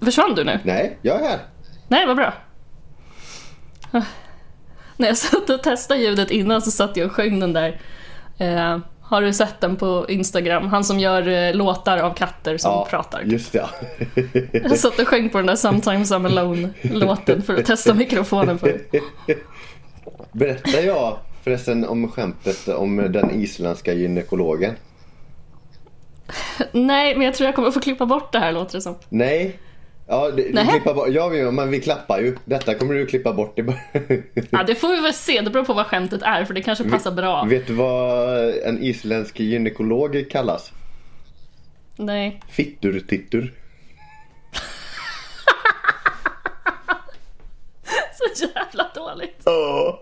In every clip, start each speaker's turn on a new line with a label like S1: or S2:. S1: Försvann du nu?
S2: Nej, jag är här.
S1: Nej, vad bra. När jag satt och testade ljudet innan så satt jag och sjöng den där. Eh, har du sett den på Instagram? Han som gör eh, låtar av katter som pratar.
S2: Just det.
S1: Jag satt och sjöng på den där Sometimes I'm Alone-låten för att testa mikrofonen för.
S2: Berättar jag förresten om skämtet om den isländska gynekologen?
S1: Nej, men jag tror jag kommer få klippa bort det här låter det som.
S2: Nej. Ja, det, du
S1: Nähä.
S2: klippa bort. ja vi- men vi klappar ju. Detta kommer du klippa bort i början.
S1: Ja, det får vi väl se, det beror på vad skämtet är för det kanske passar bra.
S2: Vet du vad en isländsk gynekolog kallas?
S1: Nej.
S2: Fittur-tittur.
S1: Så jävla dåligt.
S2: Åh,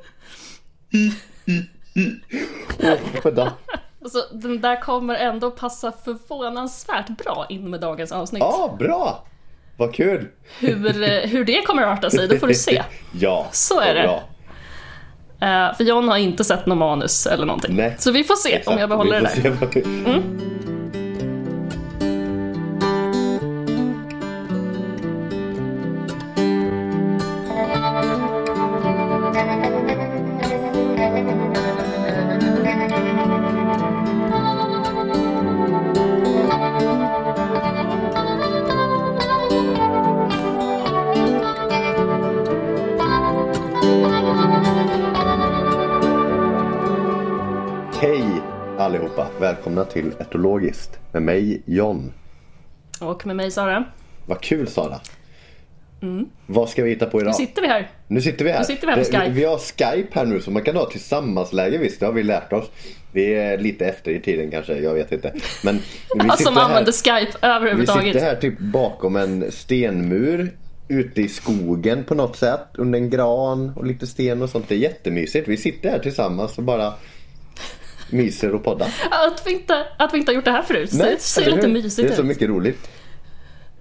S2: oh,
S1: Alltså, den där kommer ändå passa förvånansvärt bra in med dagens avsnitt.
S2: Ja, bra! Vad kul!
S1: Hur, eh, hur det kommer att arta sig, det får du se.
S2: Ja,
S1: Så är
S2: vad
S1: det.
S2: Bra.
S1: Eh, för John har inte sett något manus eller någonting.
S2: Nej.
S1: Så vi får se om jag behåller det
S2: Vi
S1: där. Mm.
S2: får se vad vi- Hej allihopa! Välkomna till Etologiskt med mig John.
S1: Och med mig Sara.
S2: Vad kul Sara! Vad ska vi hitta på idag?
S1: Mm. Nu sitter vi här.
S2: Nu sitter vi här.
S1: Nu sitter vi här på
S2: Det-
S1: Skype.
S2: Vi har Skype här nu så man kan ha tillsammansläge visst, det har vi lärt oss. Vi är lite efter i tiden kanske, jag vet inte. Men vi
S1: Alltså,
S2: sitter
S1: som
S2: här-
S1: använder Skype
S2: Vi sitter
S1: överhuvudtaget.
S2: här typ bakom en stenmur ute i skogen på något sätt. Under en gran och lite sten och sånt. Det är jättemysigt. Vi sitter här tillsammans och bara myser och poddar.
S1: Att vi, inte, att vi inte har gjort det här förut, Alltså, det ser
S2: eller
S1: lite
S2: hur?
S1: mysigt
S2: Det är så
S1: ut.
S2: mycket roligt.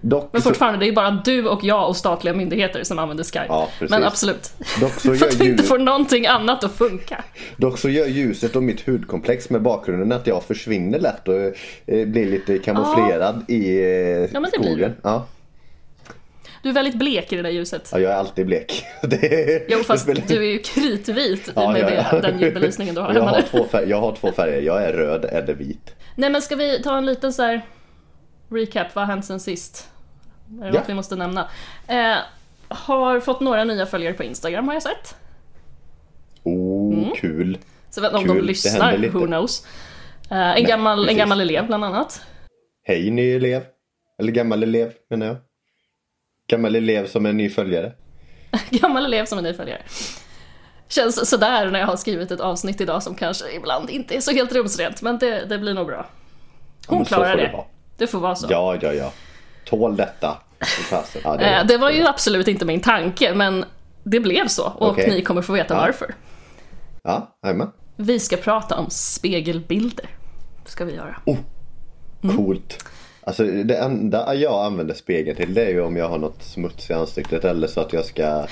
S2: Dock
S1: Men
S2: så-
S1: fortfarande, det är ju bara du och jag och statliga myndigheter som använder Skype.
S2: Ja, precis.
S1: Men absolut.
S2: Dock så
S1: För att
S2: gör
S1: vi inte
S2: ju-
S1: får någonting annat att funka.
S2: Dock så gör ljuset och mitt hudkomplex med bakgrunden att jag försvinner lätt och eh, blir lite kamouflerad i eh,
S1: Ja, men det blir
S2: skogen.
S1: du.
S2: Ja.
S1: Du är väldigt blek i det där ljuset.
S2: ja, jag är alltid blek. Det,
S1: Jo, fast
S2: det spelar-
S1: du är ju kritvit
S2: Ja,
S1: med
S2: ja, ja.
S1: Det, den ljudbelysningen du har
S2: jag
S1: hemma
S2: har,
S1: nu.
S2: två färger, jag har två färger. Jag är röd eller vit.
S1: Nej, men ska vi ta en liten så här recap, vad har hänt sen sist? Är det
S2: Ja.
S1: något vi måste nämna? Eh, har fått några nya följare på Instagram har jag sett.
S2: Oh,
S1: Mm.
S2: kul.
S1: Så jag vet inte om
S2: Kul,
S1: de
S2: det
S1: lyssnar,
S2: händer lite.
S1: who knows. Eh, en, gammal, en
S2: precis.
S1: gammal elev bland annat.
S2: Hej ny elev. Eller gammal elev menar jag. Gammal elev som är ny följare.
S1: gammal elev som är ny följare. Känns sådär när jag har skrivit ett avsnitt idag som kanske ibland inte är så helt rumsrent, men det, det blir nog bra. Hon
S2: men så
S1: klarar
S2: får
S1: det.
S2: det
S1: Det,
S2: vara.
S1: får vara så.
S2: Ja, ja, ja. Tål detta. Fy fasen. Ja, det,
S1: Eh, Det var ju absolut inte min tanke, men det blev så och
S2: Okej.
S1: ni kommer få veta
S2: Ja.
S1: varför.
S2: Ja, jajamän.
S1: Vi ska prata om spegelbilder. ska vi göra. Mm.
S2: Coolt. Alltså det enda jag använder spegeln till det är ju om jag har något smuts i ansiktet eller så att jag ska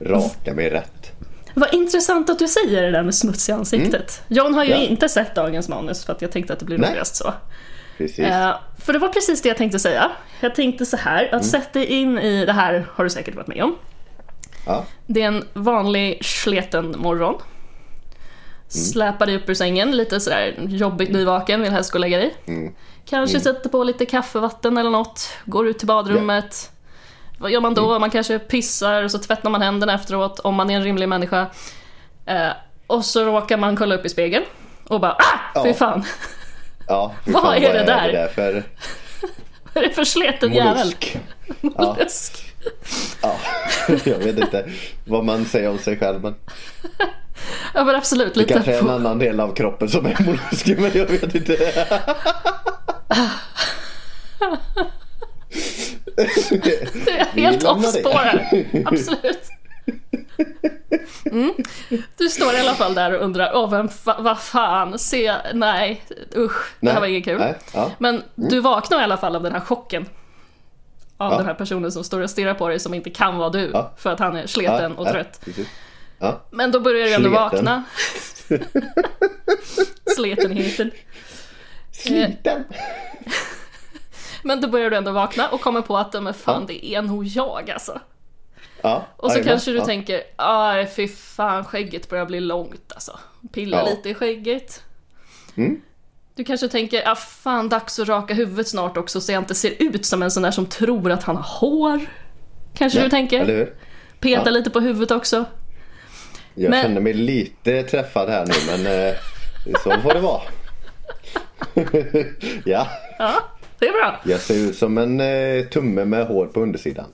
S2: raka mig rätt.
S1: Vad intressant att du säger det där med smuts i ansiktet. John har ju
S2: Mm. Ja.
S1: inte sett dagens manus för att jag tänkte att det blir
S2: Nej.
S1: roligast så.
S2: Precis.
S1: Eh, för det var precis det jag tänkte säga. Jag tänkte så här,
S2: Mm.
S1: att sätt dig in i, det här har du säkert varit med om.
S2: Ja.
S1: Det är en vanlig sleten morgon.
S2: Mm.
S1: Släpar dig upp ur sängen, lite sådär jobbigt nyvaken, vill helst gå och lägga dig.
S2: Mm.
S1: Kanske sätter på lite kaffevatten eller något, går ut till badrummet. Vad gör man då?
S2: Mm.
S1: Man kanske pissar och så tvättar man händerna efteråt om man är en rimlig människa. Eh, och så råkar man kolla upp i spegeln och bara ah! Fy
S2: Ja.
S1: fan,
S2: ja fy
S1: Vad är det där?
S2: för
S1: vad är det för sleten jävel?
S2: mollusk?
S1: Mollusk.
S2: Ja. jag vet inte vad man säger om sig själv men
S1: Ja men absolut,
S2: det kanske
S1: lite
S2: är en
S1: på,
S2: annan del av kroppen som är mollusk men jag vet inte.
S1: det är helt
S2: lämnar
S1: off
S2: det.
S1: spår här. Absolut. Mm. Du står i alla fall där och undrar, åh vem fa- vad fan, se, nej, usch, det här var inget kul.
S2: Nej. Ja.
S1: Men du vaknar i alla fall av den här chocken. Av
S2: Ja.
S1: den här personen som står och stirrar på dig som inte kan vara du,
S2: Ja.
S1: för att han är sleten
S2: ja,
S1: och
S2: ja,
S1: trött.
S2: precis. Ja.
S1: Men då börjar du ändå
S2: Sleten.
S1: vakna. Sletenheten. Eh.
S2: Sliten.
S1: Men då börjar du ändå vakna och kommer på att men fan, det är nog jag alltså.
S2: Ja,
S1: Och så
S2: jajamän,
S1: kanske du
S2: ja.
S1: tänker, aj fy fan skägget börjar bli långt alltså. Pilla
S2: Ja.
S1: lite i skägget.
S2: Mm.
S1: Du kanske tänker, ah fan dags att raka huvudet snart också så jag inte ser ut som en sån där som tror att han har hår. Kanske du tänker.
S2: Eller hur?
S1: Peta
S2: Ja.
S1: lite på huvudet också.
S2: Jag
S1: Men-
S2: känner mig lite träffad här nu men eh, så får det vara. ja,
S1: Ja, det är bra.
S2: jag ser ut som en eh, tumme med hår på undersidan.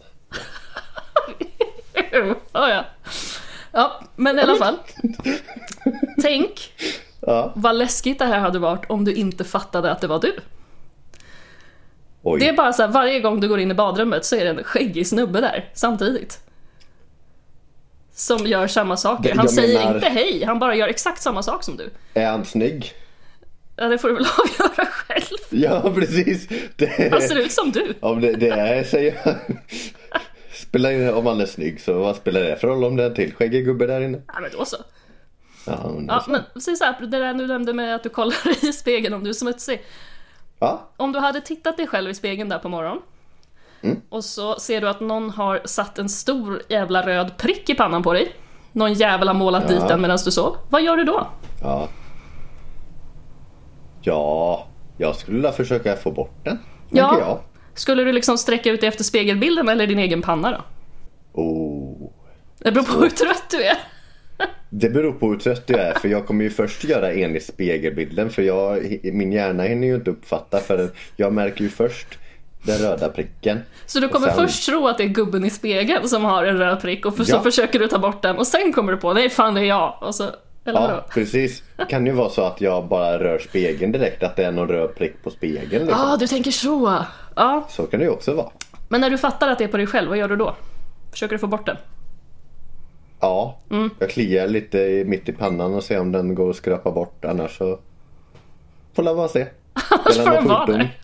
S1: ja, ja. ja, men i alla fall. Tänk
S2: Ja.
S1: vad läskigt det här hade varit om du inte fattade att det var du.
S2: Oj.
S1: Det är bara så här, varje gång du går in i badrummet så är det en skäggig snubbe där samtidigt. Som gör samma
S2: Det-
S1: saker.
S2: jag
S1: Han säger
S2: menar-
S1: inte hej, han bara gör exakt samma sak som du.
S2: Är han snygg?
S1: Ja, det får du väl avgöra själv.
S2: Ja, precis. Det,
S1: Han ser ut som du.
S2: om det, det är, säger jag. Spelar in, om han är snygg så vad spelar det för roll om det är en till skäggig gubbe där inne?
S1: Ja, men då så.
S2: Ja, hon-
S1: Ja, men säg så här, det där du nämnde med att du kollar i spegeln om du är smutsig.
S2: ja.
S1: Om du hade tittat dig själv i spegeln där på morgonen
S2: Mm.
S1: och så ser du att någon har satt en stor jävla röd prick i pannan på dig. Någon jävel har målat dit den medan du sov. Vad gör du då?
S2: Ja. Ja, jag skulle vilja försöka få bort den.
S1: Ja.
S2: tänker Jag.
S1: Skulle du liksom sträcka ut dig efter spegelbilden eller din egen panna då?
S2: Oh.
S1: Det beror på hur trött du är.
S2: Det beror på hur trött du är för jag kommer ju först göra enligt spegelbilden för jag, min hjärna hinner ju inte uppfatta för jag märker ju först den röda pricken.
S1: Så du kommer
S2: Och sen-
S1: först tro att det är gubben i spegeln som har en röd prick och för, så
S2: Ja.
S1: försöker du ta bort den och sen kommer du på nej fan det är jag. Och så, eller
S2: Ja,
S1: vadå?
S2: precis. Det kan ju vara så att jag bara rör spegeln direkt, att det är någon röd prick på spegeln. Liksom.
S1: ah, du tänker så. Ja.
S2: Så kan det ju också vara.
S1: Men när du fattar att det är på dig själv, vad gör du då? Försöker du få bort den?
S2: Ja,
S1: Mm.
S2: jag kliar lite i- mitt i pannan och ser om den går att skrapa bort. Annars så får la man se. Annars
S1: får den vara där.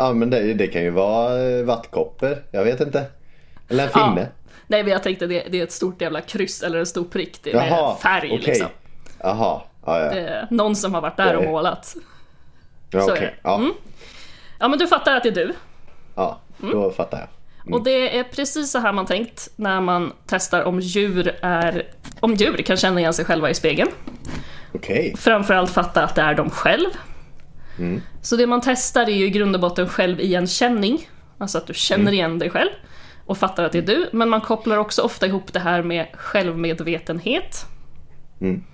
S2: Ja, men det, det kan ju vara eh, vattkoppor. Jag vet inte. Eller en
S1: Ja.
S2: finne.
S1: Nej men jag tänkte det, det är ett stort jävla kryss eller en stor prick. Det är mer
S2: Jaha,
S1: en färg
S2: okej.
S1: liksom.
S2: Jaha, ja, ja.
S1: Eh, någon som har varit där och
S2: Det är-
S1: målat.
S2: ja
S1: så är
S2: okej.
S1: det.
S2: Ja,
S1: Mm. Ja men du fattar att det är du.
S2: ja,
S1: Mm.
S2: då fattar jag.
S1: Och det är precis så här man tänkt när man testar om djur, är, om djur kan känna igen sig själva i spegeln.
S2: Okej.
S1: Framförallt fatta att det är de själv.
S2: Mm.
S1: Så det man testar är ju i grund och botten självigenkänning, alltså att du
S2: Mm.
S1: känner igen dig själv och fattar att det är du. Men man kopplar också ofta ihop det här med självmedvetenhet.
S2: Mm.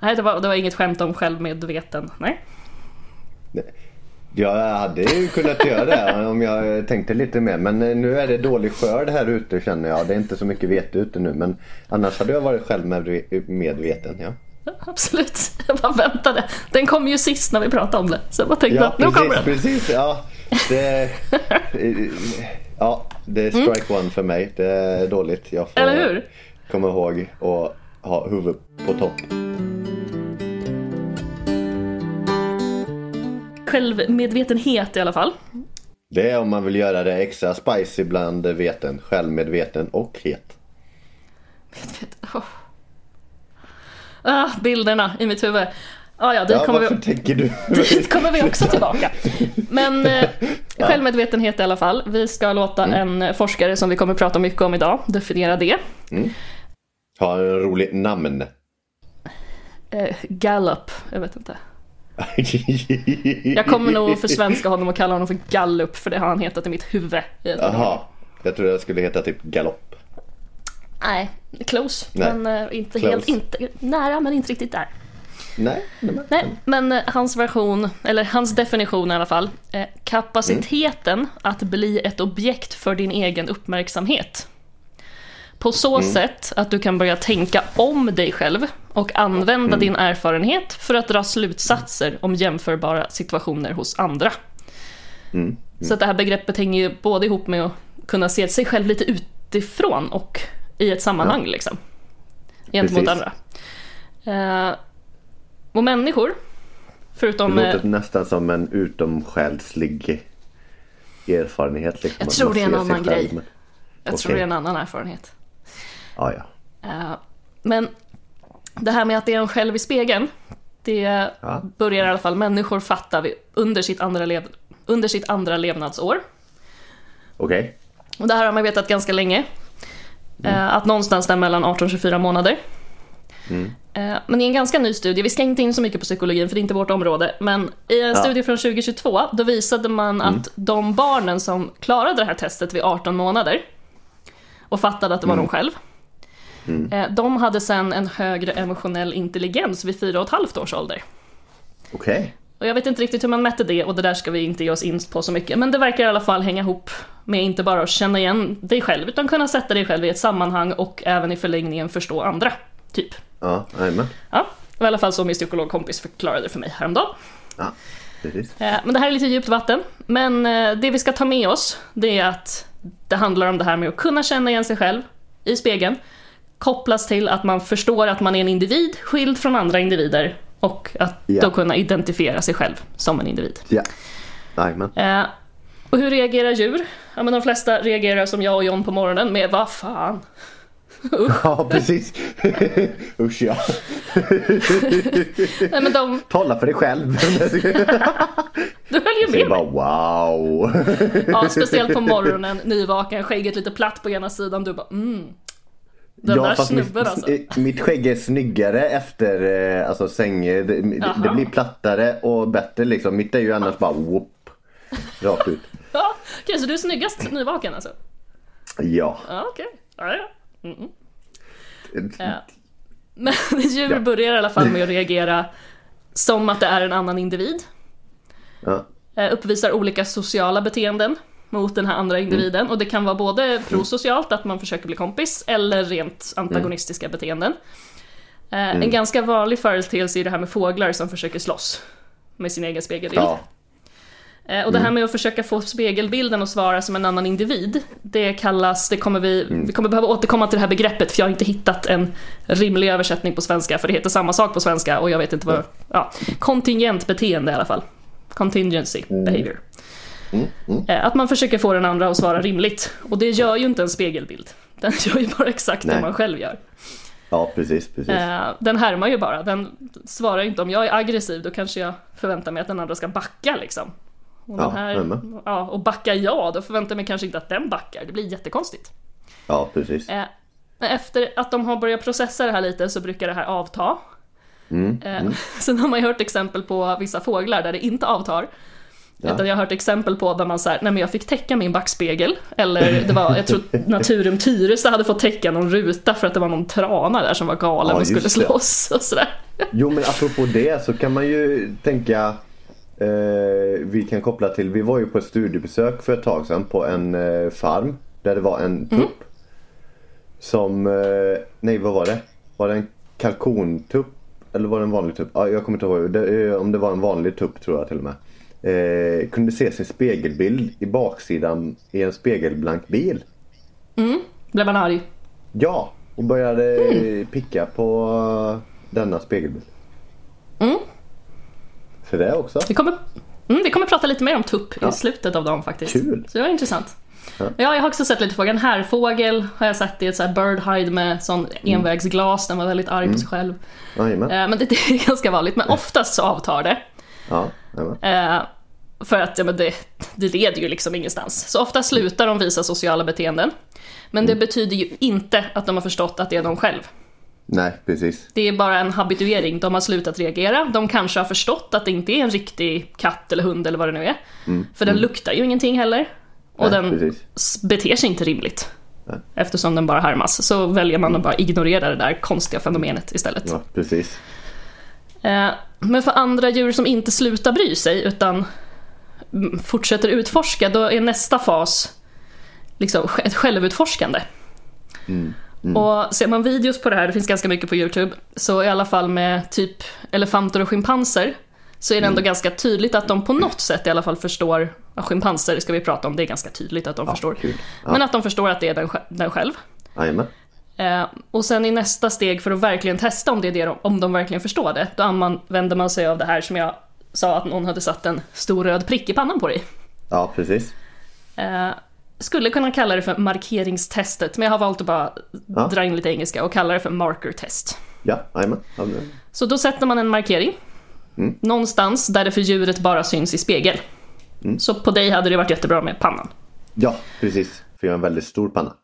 S1: Nej, det var, det var inget skämt om självmedveten. Nej.
S2: Jag hade ju kunnat göra det om jag tänkte lite mer. Men eh, nu är det dålig skörd här ute känner jag. Det är inte så mycket vete ute nu. Men annars hade jag varit självmedveten. Ja.
S1: Absolut, jag bara väntade. Den kom ju sist när vi pratade om det. Så jag bara tänkte att nu kommer den.
S2: precis. Ja, det, eh, ja, det är strike one för mig. Det är dåligt. Jag får
S1: Mm. Eller hur?
S2: komma ihåg att ha huvudet på topp.
S1: Självmedvetenhet i alla fall.
S2: Det är om man vill göra det extra spicy bland veten, självmedveten och het.
S1: Vet- oh. Ah, bilderna i mitt huvud. Ah, ja, dit,
S2: Ja,
S1: kommer
S2: varför
S1: vi,
S2: tänker du?
S1: dit kommer vi också tillbaka. Men eh, självmedvetenhet i alla fall. Vi ska låta
S2: Mm.
S1: en eh, forskare som vi kommer prata mycket om idag definiera det.
S2: Ha en rolig namn.
S1: Eh, Gallup, jag vet inte. Jag kommer nog försvenska honom och kalla honom för Gallup för det har han hetat i mitt huvud. i ett-
S2: Jaha, jag trodde jag skulle heta typ galopp.
S1: Nej, close.
S2: Nej.
S1: Men eh, inte
S2: Close.
S1: helt, inte, nära men inte riktigt där.
S2: Nej, nej, nej.
S1: Nej, men eh, hans version, eller hans definition i alla fall, eh, kapaciteten att bli ett objekt för din egen uppmärksamhet. På så sätt att du kan börja tänka om dig själv och använda din erfarenhet för att dra slutsatser om jämförbara situationer hos andra. Så att det här begreppet hänger ju både ihop med att kunna se sig själv lite utifrån och i ett sammanhang liksom. Gentemot
S2: Precis.
S1: andra. Eh, och människor, förutom...
S2: Det låter
S1: eh,
S2: nästan som en utomsjälslig erfarenhet. Liksom,
S1: Jag
S2: att
S1: tror
S2: man
S1: det är en
S2: ser sig
S1: annan
S2: själv,
S1: grej.
S2: men-
S1: jag tror
S2: okej.
S1: det är en annan erfarenhet.
S2: Ja, ja.
S1: Eh, men det här med att det är en själv i spegeln, det
S2: Ja.
S1: börjar i alla fall människor fatta vid, under sitt andra lev, under sitt andra levnadsår.
S2: Okej.
S1: Och det här har man vetat ganska länge. Eh, Att någonstans där mellan 18 och 24 månader. Eh, Men i en ganska ny studie, vi ska inte in så mycket på psykologin för det är inte vårt område, men i en studie från 2022 då visade man att de barnen som klarade det här testet vid 18 månader och fattade att det var de själv, eh, de hade sen en högre emotionell intelligens vid 4,5 års ålder.
S2: Okej.
S1: Och jag vet inte riktigt hur man mätte det och det där ska vi inte ge oss in på så mycket. Men det verkar i alla fall hänga ihop med inte bara att känna igen dig själv utan kunna sätta dig själv i ett sammanhang och även i förlängningen förstå andra. Typ.
S2: Ja, jajamän.
S1: Ja, det var i alla fall så min psykologkompis förklarade det för mig häromdagen.
S2: Ja, precis.
S1: Eh, Men det här är lite djupt vatten. Men eh, det vi ska ta med oss, det är att det handlar om det här med att kunna känna igen sig själv i spegeln, kopplas till att man förstår att man är en individ skild från andra individer och att
S2: Ja.
S1: då kunna identifiera sig själv som en individ.
S2: Ja. Jajamän.
S1: Eh, och hur reagerar djur? Ja, men de flesta reagerar som jag och John på morgonen med vad fan.
S2: Ja, precis. Usch ja.
S1: Nej, men de,
S2: Tala för dig själv.
S1: du höll ju
S2: Det är
S1: med mig.
S2: bara wow.
S1: Ja, speciellt på morgonen, nyvaken, skägget lite platt på ena sidan. Du bara mm. Den där
S2: fast mitt-
S1: snubben alltså.
S2: eh, Mitt skägg är snyggare efter eh, alltså, säng. Det, det- det
S1: Jaha.
S2: blir plattare och bättre liksom. Mitt är ju annars bara whoop. Rakt ut.
S1: Ja, okej, så du är snyggast nyvaken alltså?
S2: Ja.
S1: Ja, okej. Ja, ja. Ja. Men djur börjar i alla fall med att reagera som att det är en annan individ.
S2: Ja.
S1: eh, uppvisar olika sociala beteenden mot den här andra individen. Och det kan vara både prosocialt, att man försöker bli kompis, eller rent antagonistiska beteenden. Eh, En ganska vanlig företeelse är det här med fåglar som försöker slåss med sin egen spegelbild.
S2: ja.
S1: Eh, Och det här med att försöka få spegelbilden att svara som en annan individ, det kallas, det kommer vi, vi kommer behöva återkomma till det här begreppet för jag har inte hittat en rimlig översättning på svenska för det heter samma sak på svenska och jag vet inte vad, ja, kontingent beteende i alla fall. Contingency behavior. Eh, Att man försöker få den andra att svara rimligt och det gör ju inte en spegelbild. Den gör ju bara exakt det
S2: Nej.
S1: man själv gör.
S2: Ja, precis. precis.
S1: Eh, Den härmar ju bara, den svarar ju inte om jag är aggressiv då kanske jag förväntar mig att den andra ska backa liksom. Och,
S2: Ja,
S1: den här,
S2: jajamän.
S1: ja, och backar jag då förväntar jag mig kanske inte att den backar, det blir jättekonstigt.
S2: Ja, precis.
S1: Eh, men Efter att de har börjat processa det här lite så brukar det här avta.
S2: Mm,
S1: Eh, Sen har man ju hört exempel på vissa fåglar där det inte avtar. Utan jag har hört exempel på där man säger, nej men jag fick täcka min backspegel. Eller det var, jag tror Naturum Tyresö hade fått täcka någon ruta för att det var någon trana där som var galen
S2: Ja,
S1: och skulle
S2: just det.
S1: slåss och sådär.
S2: Jo men apropå det så kan man ju tänka eh, Vi kan koppla till, vi var ju på ett studiebesök för ett tag sedan på en eh, farm Där det var en tupp Som, eh, nej vad var det? Var det en kalkontupp? Eller var det en vanlig tupp? Ja, jag kommer inte ihåg, det, eh, om det var en vanlig tupp tror jag till och med eh, Kunde se sin spegelbild i baksidan i en spegelblank bil
S1: Blev han arg?
S2: Ja! Och började eh, picka på eh, denna spegelbild
S1: Mm.
S2: Så det också
S1: Vi kommer, mm, vi kommer prata lite mer om tupp i slutet av dagen faktiskt.
S2: Kul.
S1: Så det var intressant. Ja. jag har också sett lite frågan. Härfågel har jag sett i ett så här bird hide med sån envägsglas. Den var väldigt arg på sig själv.
S2: Jajamän.
S1: Eh, men det, det är ganska vanligt. Men oftast så avtar det.
S2: Ja, jajamän.
S1: Eh, för att ja, men det, det leder ju liksom ingenstans. Så ofta slutar de visa sociala beteenden. Men det betyder ju inte att de har förstått att det är de själv.
S2: Nej, precis.
S1: Det är bara en habituering. De har slutat reagera. De kanske har förstått att det inte är en riktig katt eller hund eller vad det nu är. För den luktar ju ingenting heller. Och
S2: Mm. Nej,
S1: den
S2: precis.
S1: s- beter sig inte rimligt. Eftersom den bara härmas. Så väljer man att bara ignorera det där konstiga fenomenet istället.
S2: Ja, precis.
S1: Eh, Men för andra djur som inte slutar bry sig utan mm, fortsätter utforska, då är nästa fas liksom sj- ett självutforskande.
S2: Mm,
S1: Och ser man videos på det här, det finns ganska mycket på Youtube, så i alla fall med typ elefanter och schimpanser så är det ändå
S2: Mm.
S1: ganska tydligt att de på något sätt i alla fall förstår, ja, schimpanser ska vi prata om, det är ganska tydligt att de förstår.
S2: kul. Ja.
S1: Men att de förstår att det är den, sj- den själv.
S2: Jajamän.
S1: Eh, och sen i nästa steg för att verkligen testa om, det är det de, om de verkligen förstår det, då använder man sig av det här som jag sa att någon hade satt en stor röd prick i pannan på dig.
S2: Ja, precis.
S1: Eh, skulle kunna kalla det för markeringstestet, men jag har valt att bara
S2: Ja.
S1: dra in lite engelska och kalla det för marker test.
S2: Ja, jajamän. Ja, men- Mm.
S1: Så då sätter man en markering någonstans där det för djuret bara syns i spegel.
S2: Mm.
S1: Så på dig hade det varit jättebra med pannan.
S2: Ja, precis. För jag har en väldigt stor panna.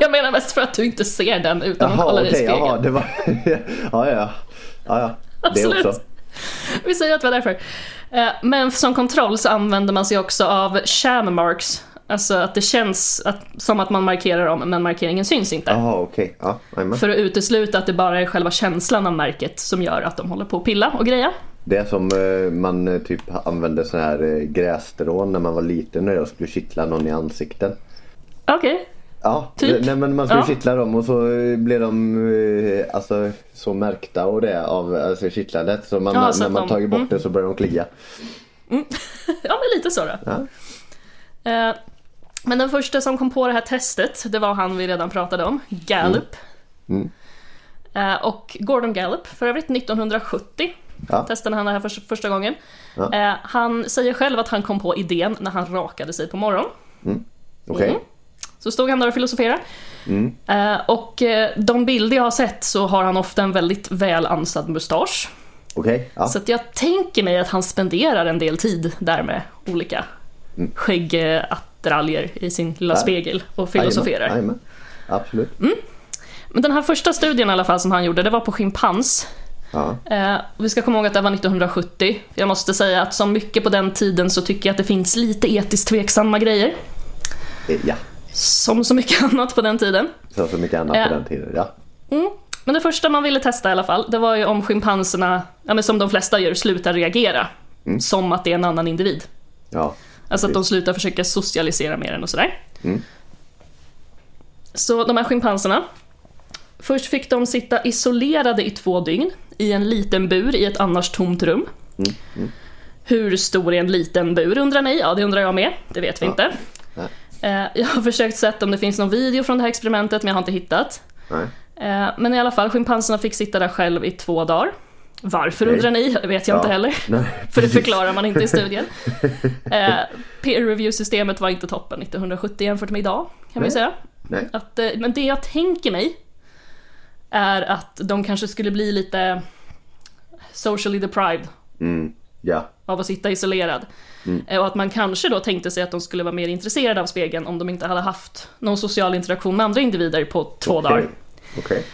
S1: Jag menar mest för att du inte ser den utan att kolla dig
S2: Jaha,
S1: i
S2: okej.
S1: spegeln.
S2: Jaha, det var... ja, ja. ja, ja. Det
S1: Absolut.
S2: också.
S1: Vi säger att det var därför. Eh, Men som kontroll så använder man sig också av sham marks. Alltså att det känns att, som att man markerar om men markeringen syns inte.
S2: Jaha, okej. Ja, jajamän.
S1: För att utesluta att det bara är själva känslan av märket som gör att de håller på att pilla och greja.
S2: Det är som eh, man eh, typ använde sån här eh, grässtrån när man var liten och jag skulle kittla någon i ansikten.
S1: Okej.
S2: Ja,
S1: Typ.
S2: det- nej, men man skulle
S1: Ja.
S2: kittla dem och så eh, blev de eh, alltså, så märkta och det av alltså, kittlandet. Så man,
S1: Ja,
S2: man,
S1: så
S2: när
S1: att
S2: man
S1: de-
S2: tagit bort
S1: mm.
S2: det så börjar de klia.
S1: Ja, men lite så då.
S2: Ja.
S1: Eh, Men den första som kom på det här testet, det var han vi redan pratade om, Gallup.
S2: Mm.
S1: Eh, Och Gordon Gallup, för övrigt 1970,
S2: Ja.
S1: testade han det här för första gången.
S2: Ja.
S1: Eh, Han säger själv att han kom på idén när han rakade sig på morgonen.
S2: Okej.
S1: Mm. Så stod han där och filosoferade.
S2: Mm.
S1: Eh, Och eh, de bilder jag har sett så har han ofta en väldigt väl ansad mustasch.
S2: Okej. Ja.
S1: Så att jag tänker mig att han spenderar en del tid där med olika
S2: Mm.
S1: skäggattiraljer i sin lilla
S2: Ja.
S1: spegel och
S2: Jajamän,
S1: filosoferar. Mm.
S2: jajamän. Absolut.
S1: Men den här första studien i alla fall som han gjorde, det var på schimpans.
S2: Ja.
S1: Eh, och vi ska komma ihåg att det här var 1970. Jag måste säga att som mycket på den tiden så tycker jag att det finns lite etiskt tveksamma grejer.
S2: Eh, ja.
S1: Som så mycket annat på den tiden.
S2: Så, så mycket annat
S1: Ja.
S2: på den tiden. Ja.
S1: Mm. Men det första man ville testa i alla fall, det var ju om schimpanserna, ja, men som de flesta gör, slutar reagera. Som att det är en annan individ.
S2: Ja.
S1: Alltså att de slutar försöka socialisera med den och sådär.
S2: Mm.
S1: Så de här schimpanserna. Först fick de sitta isolerade i två dygn i en liten bur i ett annars tomt rum.
S2: Mm,
S1: Hur stor är en liten bur undrar ni? Ja, det undrar jag med. Det vet vi
S2: Ja.
S1: inte.
S2: Nej.
S1: Eh, Jag har försökt se om det finns någon video från det här experimentet, men jag har inte hittat.
S2: Nej.
S1: Eh, Men i alla fall, schimpanserna fick sitta där själv i två dagar. Varför
S2: Okej.
S1: undrar ni? Det vet jag
S2: Ja.
S1: inte heller.
S2: Nej.
S1: För det
S2: precis.
S1: förklarar man inte i studien. Eh, peer review-systemet var inte toppen 1970 jämfört med idag, kan vi
S2: Nej.
S1: säga.
S2: Nej.
S1: Att, eh, men det jag tänker mig är att de kanske skulle bli lite socially deprived
S2: Mm. Ja.
S1: av att sitta isolerad.
S2: Mm.
S1: Eh, Och att man kanske då tänkte sig att de skulle vara mer intresserade av spegeln om de inte hade haft någon social interaktion med andra individer på två
S2: Okej.
S1: dagar.
S2: Okej.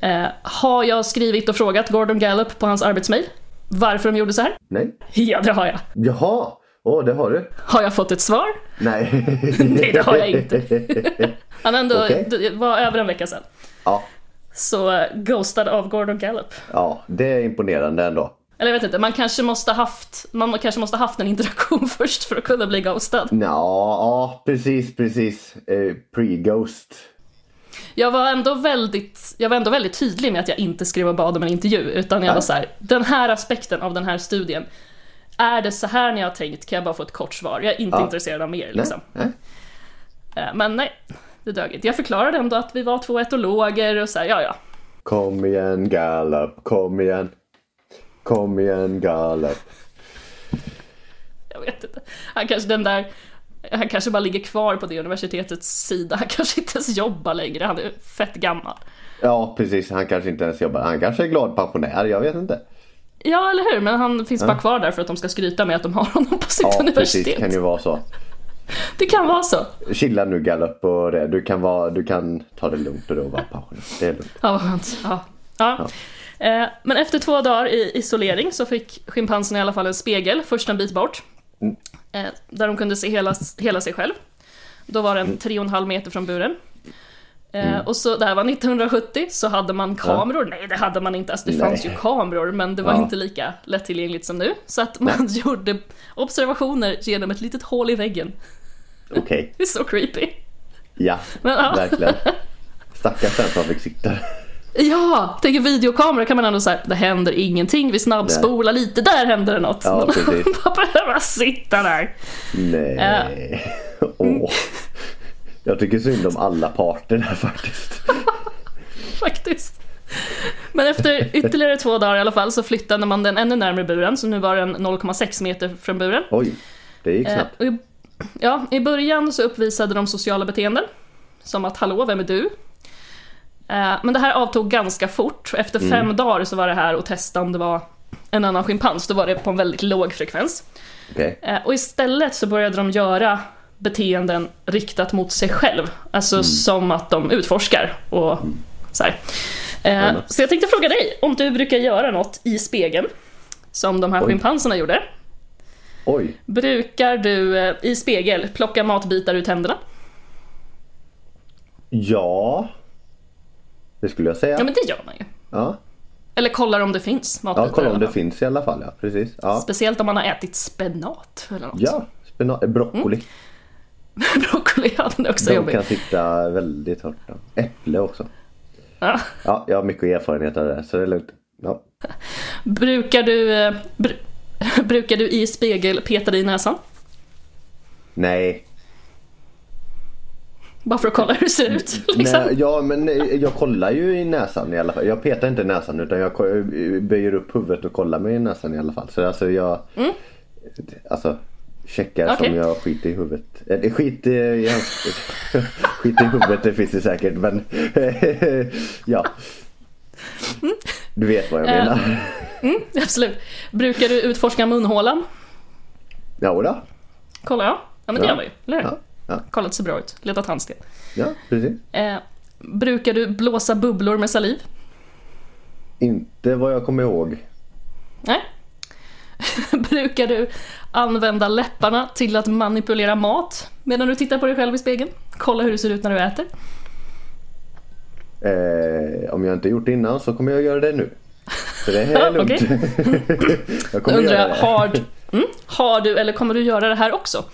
S1: Eh, har jag skrivit och frågat Gordon Gallup på hans arbetsmail varför de gjorde så här?
S2: Nej.
S1: Ja, det har jag.
S2: Jaha. Åh, det har du.
S1: Har jag fått ett svar?
S2: Nej.
S1: Nej, det har jag inte. Han ändå
S2: Okej.
S1: det var över en vecka sedan.
S2: ja.
S1: Så eh, ghostad av Gordon Gallup.
S2: ja, det är imponerande ändå.
S1: Eller jag vet inte, man kanske måste haft, man kanske måste haft en interaktion först för att kunna bli ghostad.
S2: Nja, ja, precis, precis. Eh, Pre-ghost.
S1: Jag var, ändå väldigt, jag var ändå väldigt tydlig med att jag inte skrev och bad om en intervju, utan jag var så här, den här aspekten av den här studien, är det så här ni har tänkt, kan jag bara få ett kort svar? Jag är inte
S2: Ja.
S1: intresserad av mer
S2: Nej,
S1: liksom.
S2: nej.
S1: Eh, Men nej, det dög inte. Jag förklarade ändå att vi var två etologer och så här, ja ja.
S2: Kom igen Gallup, kom igen. Kom igen Gallup.
S1: Jag vet inte. Han kanske den där han kanske bara ligger kvar på det universitetets sida. Han kanske inte ens jobbar längre. Han är fett gammal.
S2: Ja, precis. Han kanske inte ens jobbar. Han kanske är glad pensionär, jag vet inte.
S1: Ja, eller hur? Men han finns bara kvar där för att de ska skryta med att de har honom på sitt
S2: Ja, precis.
S1: universitet.
S2: Kan ju vara så.
S1: Det kan vara så.
S2: Chilla nu Gallup och det. Du kan, vara, du kan ta det lugnt och då vara pensionär. Det är lugnt.
S1: Ja, vad skönt. Ja. Ja. Eh, Men efter två dagar i isolering så fick schimpansen i alla fall en spegel, först en bit bort.
S2: Mm.
S1: eh, Där de kunde se hela, hela sig själv. Då var den tre och en halv meter från buren. Eh,
S2: Mm.
S1: Och så, det här var 1970, så hade man kameror. Nej, det hade man inte. Alltså, det
S2: Nej.
S1: fanns ju kameror, men det var
S2: Ja.
S1: inte lika lättillgängligt som nu. Så att man gjorde observationer genom ett litet hål i väggen.
S2: Okej,
S1: Det är så creepy.
S2: ja.
S1: Men, ja.
S2: Verkligen. Stackars den som fick sitta där.
S1: Ja, tänk en videokamera kan man ändå säga det händer ingenting, vi snabbspolar lite, där händer det något.
S2: Ja,
S1: Man
S2: precis.
S1: bara behöver sitta där.
S2: Nej. Åh. Jag tycker synd om alla parter här faktiskt.
S1: Faktiskt. Men efter ytterligare två dagar i alla fall så flyttade man den ännu närmare buren, så nu var den 0,6 meter från buren.
S2: Oj, det gick
S1: Eh,
S2: snabbt.
S1: och i, ja, I början så uppvisade de sociala beteenden, som att hallå, vem är du?
S2: Mm.
S1: Eh, men det här avtog ganska fort, efter fem dagar så var det här att testa om det var en annan schimpans, då var det på en väldigt låg frekvens.
S2: Okej.
S1: Eh, Och istället så började de göra beteenden riktat mot sig själv.
S2: Mm.
S1: Alltså som att de utforskar och så här. Eh,
S2: Spännande.
S1: Så jag tänkte fråga dig om du brukar göra något i spegeln som de här
S2: Oj.
S1: schimpanserna gjorde.
S2: Oj.
S1: Brukar du eh, i spegel plocka matbitar ur tänderna?
S2: Ja. Det skulle jag säga.
S1: Ja men det gör man ju.
S2: Ja,
S1: Eller kollar om det finns matbitar
S2: ja kolla
S1: i alla
S2: om det
S1: fall.
S2: finns i alla fall. Ja, precis. Ja.
S1: Speciellt om man har ätit spenat eller något.
S2: Ja, spinat, eh,
S1: Mm,
S2: broccoli.
S1: Broccoli ja, den är också
S2: De
S1: jobbig.
S2: kan sitta väldigt hårt. Ja. Äpple också.
S1: Ja.
S2: Ja, jag har mycket erfarenhet av det så det är lugnt. Ja.
S1: Brukar du, eh, br- brukar du i spegel peta dig i näsan?
S2: Nej.
S1: Bara för att kolla hur det ser ut. Liksom.
S2: Nej, ja, men eh, jag kollar ju i näsan i alla fall. Jag petar inte i näsan utan jag ko- eh, böjer upp huvudet och kollar mig i näsan i alla fall. Så alltså jag alltså, checkar
S1: Mm. Okej.
S2: som jag skiter i huvudet. Eller skit eh, i hans... skit i huvudet det finns det säkert men ja. Du vet vad jag
S1: Mm. Eh.
S2: menar.
S1: Absolut. Brukar du utforska munhålan?
S2: Ja, då.
S1: Kollar jag. Ja men det
S2: Ja.
S1: gör man ju, eller hur?
S2: Ja, ja.
S1: Kollat ser bra ut. Letat handsten.
S2: ja, precis.
S1: Eh, brukar du blåsa bubblor med saliv?
S2: Inte vad jag kommer ihåg.
S1: Nej. brukar du använda läpparna till att manipulera mat medan du tittar på dig själv i spegeln? Kolla hur du ser ut när du äter.
S2: Eh, om jag inte gjort det innan så kommer jag göra det nu. Så det här är lugnt.
S1: Okej. Då
S2: jag kommer
S1: undrar
S2: göra
S1: jag,
S2: det.
S1: har, du- mm, har du eller kommer du göra det här också?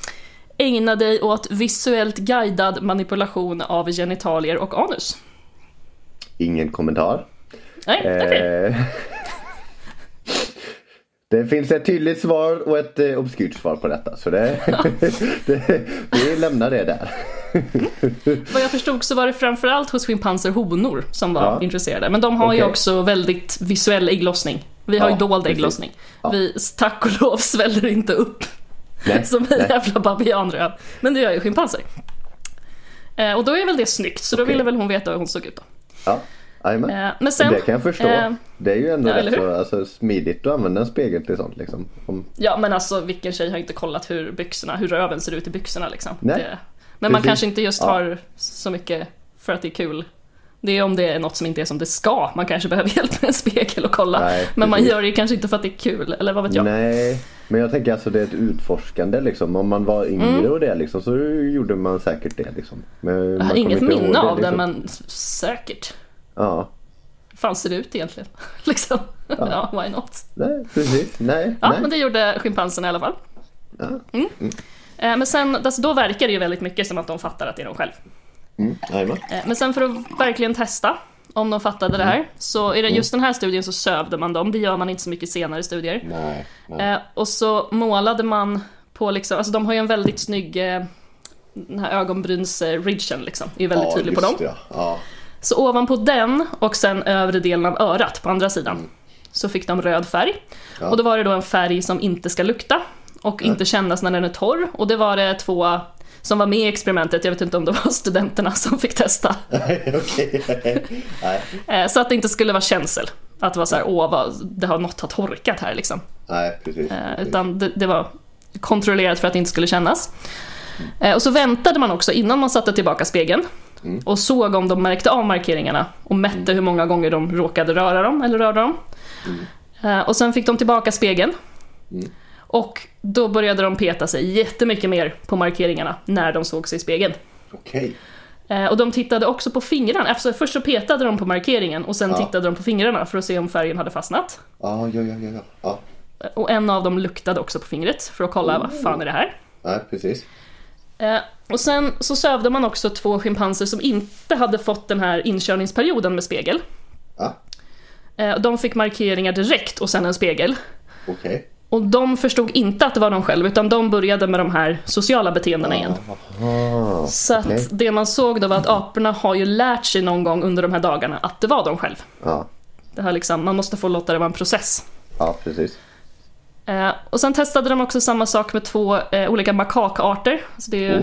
S1: Ägna dig åt visuellt guidad manipulation av genitalier och anus.
S2: Ingen kommentar.
S1: Nej, okej.
S2: Eh, det finns ett tydligt svar och ett eh, obskyrt svar på detta. Så det, det, vi lämnar det där.
S1: Vad jag förstod så var det framförallt hos schimpanser honor som var
S2: Ja.
S1: intresserade. Men de har ju
S2: Okej.
S1: också väldigt visuell ägglossning. Vi har
S2: Ja,
S1: ju dold
S2: precis.
S1: ägglossning.
S2: Ja.
S1: Vi, tack och lov, sväller inte upp
S2: Nej,
S1: som en
S2: nej.
S1: jävla babianröv. Men det gör ju schimpanser. Eh, och då är väl det snyggt, så då
S2: Okej.
S1: ville väl hon veta hur hon såg ut då.
S2: Ja, jajamän.
S1: Eh, men sen...
S2: det kan jag förstå.
S1: eh,
S2: det är ju ändå
S1: ja, eller
S2: rätt
S1: hur?
S2: så alltså, smidigt att använda en spegel till sånt. Liksom. Om,
S1: Ja men alltså vilken tjej har inte kollat hur byxorna, hur röven ser ut i byxorna liksom.
S2: Nej.
S1: Det, men man
S2: Precis.
S1: kanske inte just
S2: Ja.
S1: har så mycket för att det är kul. Det är om det är något som inte är som det ska, man kanske behöver hjälp med en spegel och kolla.
S2: Nej,
S1: men man
S2: precis.
S1: gör det kanske inte för att det är kul, eller vad vet jag.
S2: Nej, men jag tänker alltså det är ett utforskande liksom. Om man var yngre och det liksom så gjorde man säkert det liksom. Men
S1: Mm. jag
S2: man
S1: har
S2: kommer
S1: inget
S2: inte ihåg
S1: minne av det
S2: liksom.
S1: men s- säkert.
S2: Ja,
S1: Hur fan ser det ut egentligen? liksom. Ja. why not?
S2: nej precis. Nej,
S1: Ja,
S2: nej.
S1: men det gjorde schimpanserna i alla fall.
S2: Ja.
S1: Mm. Eh, Men sen, alltså, då verkar det ju väldigt mycket som att de fattar att det är de själv.
S2: Mm, jajamän.
S1: Eh, Men sen för att verkligen testa om de fattade
S2: Mm.
S1: det här, så i den- just den här studien så sövde man dem, det gör man inte så mycket senare i studier.
S2: nej, nej.
S1: Eh, och så målade man på liksom, alltså de har ju en väldigt snygg, eh, den här ögonbrynsridgen liksom, är ju väldigt
S2: Ja,
S1: tydlig på dem.
S2: just det, Ja. Ja.
S1: Så ovanpå den och sen övre delen av örat på andra sidan så fick de röd färg.
S2: Mm. Ja.
S1: Och då var det då en färg som inte ska lukta och inte kännas när den är torr. Och det var det två som var med i experimentet, jag vet inte om det var studenterna som fick testa.
S2: Okej. nej,
S1: Eh, Så att det inte skulle vara känsel. Att det var så här, åh, vad, det har något har torkat här liksom.
S2: nej, precis.
S1: Eh, Utan det, det var kontrollerat för att det inte skulle kännas. Eh, Och så väntade man också innan man satte tillbaka spegeln och såg om de märkte av markeringarna och mätte hur många gånger de råkade röra dem eller rörde dem. Eh, Och sen fick de tillbaka spegeln. Och då började de peta sig jättemycket mer på markeringarna när de såg sig i spegeln.
S2: Okej.
S1: Eh, Och de tittade också på fingrarna. Alltså, först så petade de på markeringen och sen
S2: Ja.
S1: tittade de på fingrarna för att se om färgen hade fastnat.
S2: Ja, ja, ja, ja, ja. ja.
S1: Eh, Och en av dem luktade också på fingret för att kolla vad fan är det här.
S2: Nej, precis.
S1: Eh, Och sen så sövde man också två schimpanser som inte hade fått den här inkörningsperioden med spegel.
S2: Ja,
S1: Eh, och De fick markeringar direkt och sen en spegel.
S2: okej.
S1: Och de förstod inte att det var de själv utan de började med de här sociala beteendena igen.
S2: Ah,
S1: Så att
S2: okej.
S1: det man såg då var att aporna har ju lärt sig någon gång under de här dagarna att det var de själv.
S2: Ja,
S1: Det här liksom, man måste få låta det vara en process.
S2: ja, precis.
S1: Eh, och sen testade de också samma sak med två eh, olika makakarter. Alltså det är ju,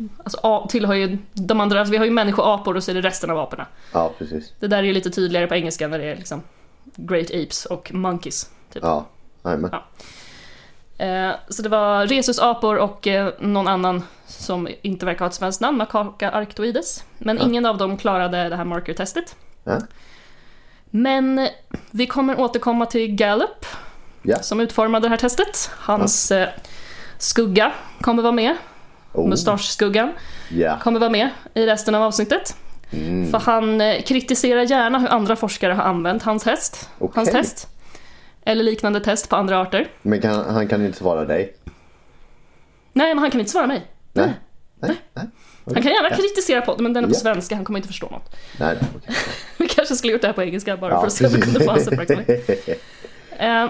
S2: Oh.
S1: alltså, a, tillhör ju de andra, alltså vi har ju människoapor och så är det resten av aporna.
S2: Ja, precis.
S1: Det där är ju lite tydligare på engelska när det är liksom Great Apes och Monkeys. Typ.
S2: Ja, jajamän.
S1: Ja. Eh, Så det var rhesusapor och eh, någon annan som inte verkar ha ett svenskt namn, Macaca arctoides. Men ingen av dem klarade det här marker-testet.
S2: Ja.
S1: Men vi kommer återkomma till Gallup
S2: Ja.
S1: som utformade det här testet. Hans eh, skugga kommer vara med,
S2: Oh,
S1: mustaschskuggan
S2: ja.
S1: kommer vara med i resten av avsnittet.
S2: Mm.
S1: För han eh, kritiserar gärna hur andra forskare har använt hans häst, hans
S2: Okej.
S1: test. Eller liknande test på andra arter.
S2: Men kan, han kan inte svara dig?
S1: Nej, men han kan inte svara mig.
S2: Nej. Nej. Nej.
S1: Han
S2: Okej.
S1: kan gärna kritisera podden, men den är på
S2: Ja.
S1: svenska, han kommer inte förstå något.
S2: Nej, nej, okej.
S1: Vi kanske skulle gjort det här på engelska bara
S2: Ja,
S1: för att se om vi
S2: precis.
S1: kunde få hans uppmärksamhet. Eh,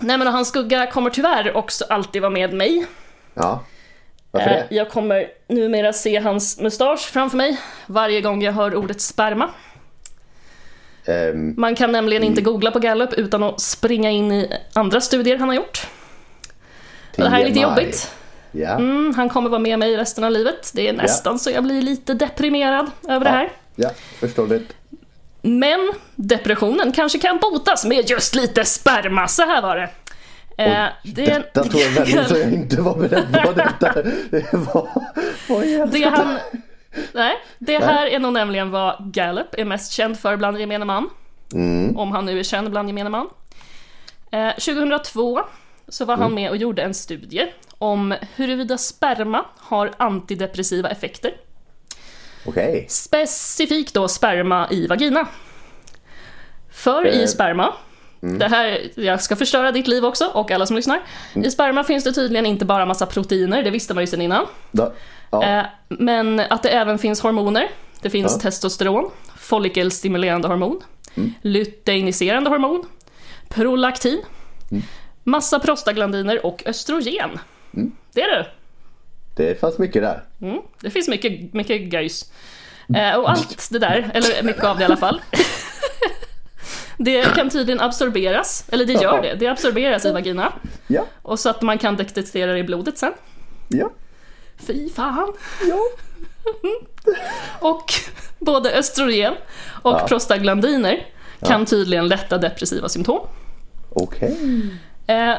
S1: nej, men hans skugga kommer tyvärr också alltid vara med mig.
S2: Ja. Varför
S1: Eh,
S2: det?
S1: jag kommer numera se hans mustasch framför mig varje gång jag hör ordet sperma.
S2: Ehm,
S1: Man kan nämligen inte googla på Gallup utan att springa in i andra studier han har gjort. Det här är lite
S2: TMI.
S1: jobbigt.
S2: Ja.
S1: Mm, han kommer vara med mig resten av livet. Det är nästan så jag blir lite deprimerad över det här.
S2: Ja, förståeligt.
S1: Men depressionen kanske kan botas med just lite sperma. Så här var det. Eh, det
S2: Detta tror jag väldigt så jag inte var beredd på. Detta Det var... Vad i
S1: det
S2: helskotta?
S1: han... Nej, det här är nog nämligen vad Gallup är mest känd för bland gemene man.
S2: Mm,
S1: Om han nu är känd bland gemene man. Eh, 2002 så var
S2: Mm.
S1: han med och gjorde en studie om huruvida sperma har antidepressiva effekter.
S2: Okej.
S1: Specifikt då sperma i vagina. För
S2: Eh. mm.
S1: i sperma, det här, jag ska förstöra ditt liv också och alla som lyssnar.
S2: Mm.
S1: I sperma finns det tydligen inte bara massa proteiner, det visste man ju sedan innan.
S2: Då- Ja.
S1: Eh, Men att det även finns hormoner. Det finns
S2: Ja. Mm.
S1: testosteron, follikelstimulerande hormon, luteiniserande hormon, prolaktin,
S2: Mm.
S1: massa prostaglandiner och östrogen.
S2: Mm.
S1: Det är det.
S2: Det fanns mycket där.
S1: Mm. Det finns mycket, mycket göjs.
S2: Mm.
S1: Eh, och allt det där, eller mycket av det i alla fall. Det kan tydligen absorberas, eller det gör det. Det absorberas i vagina.
S2: Ja,
S1: Och så att man kan detektera det i blodet sen.
S2: ja,
S1: Fy fan!
S2: ja.
S1: Och både östrogen och
S2: Ja.
S1: prostaglandiner kan tydligen lätta depressiva symptom.
S2: Okej.
S1: Eh,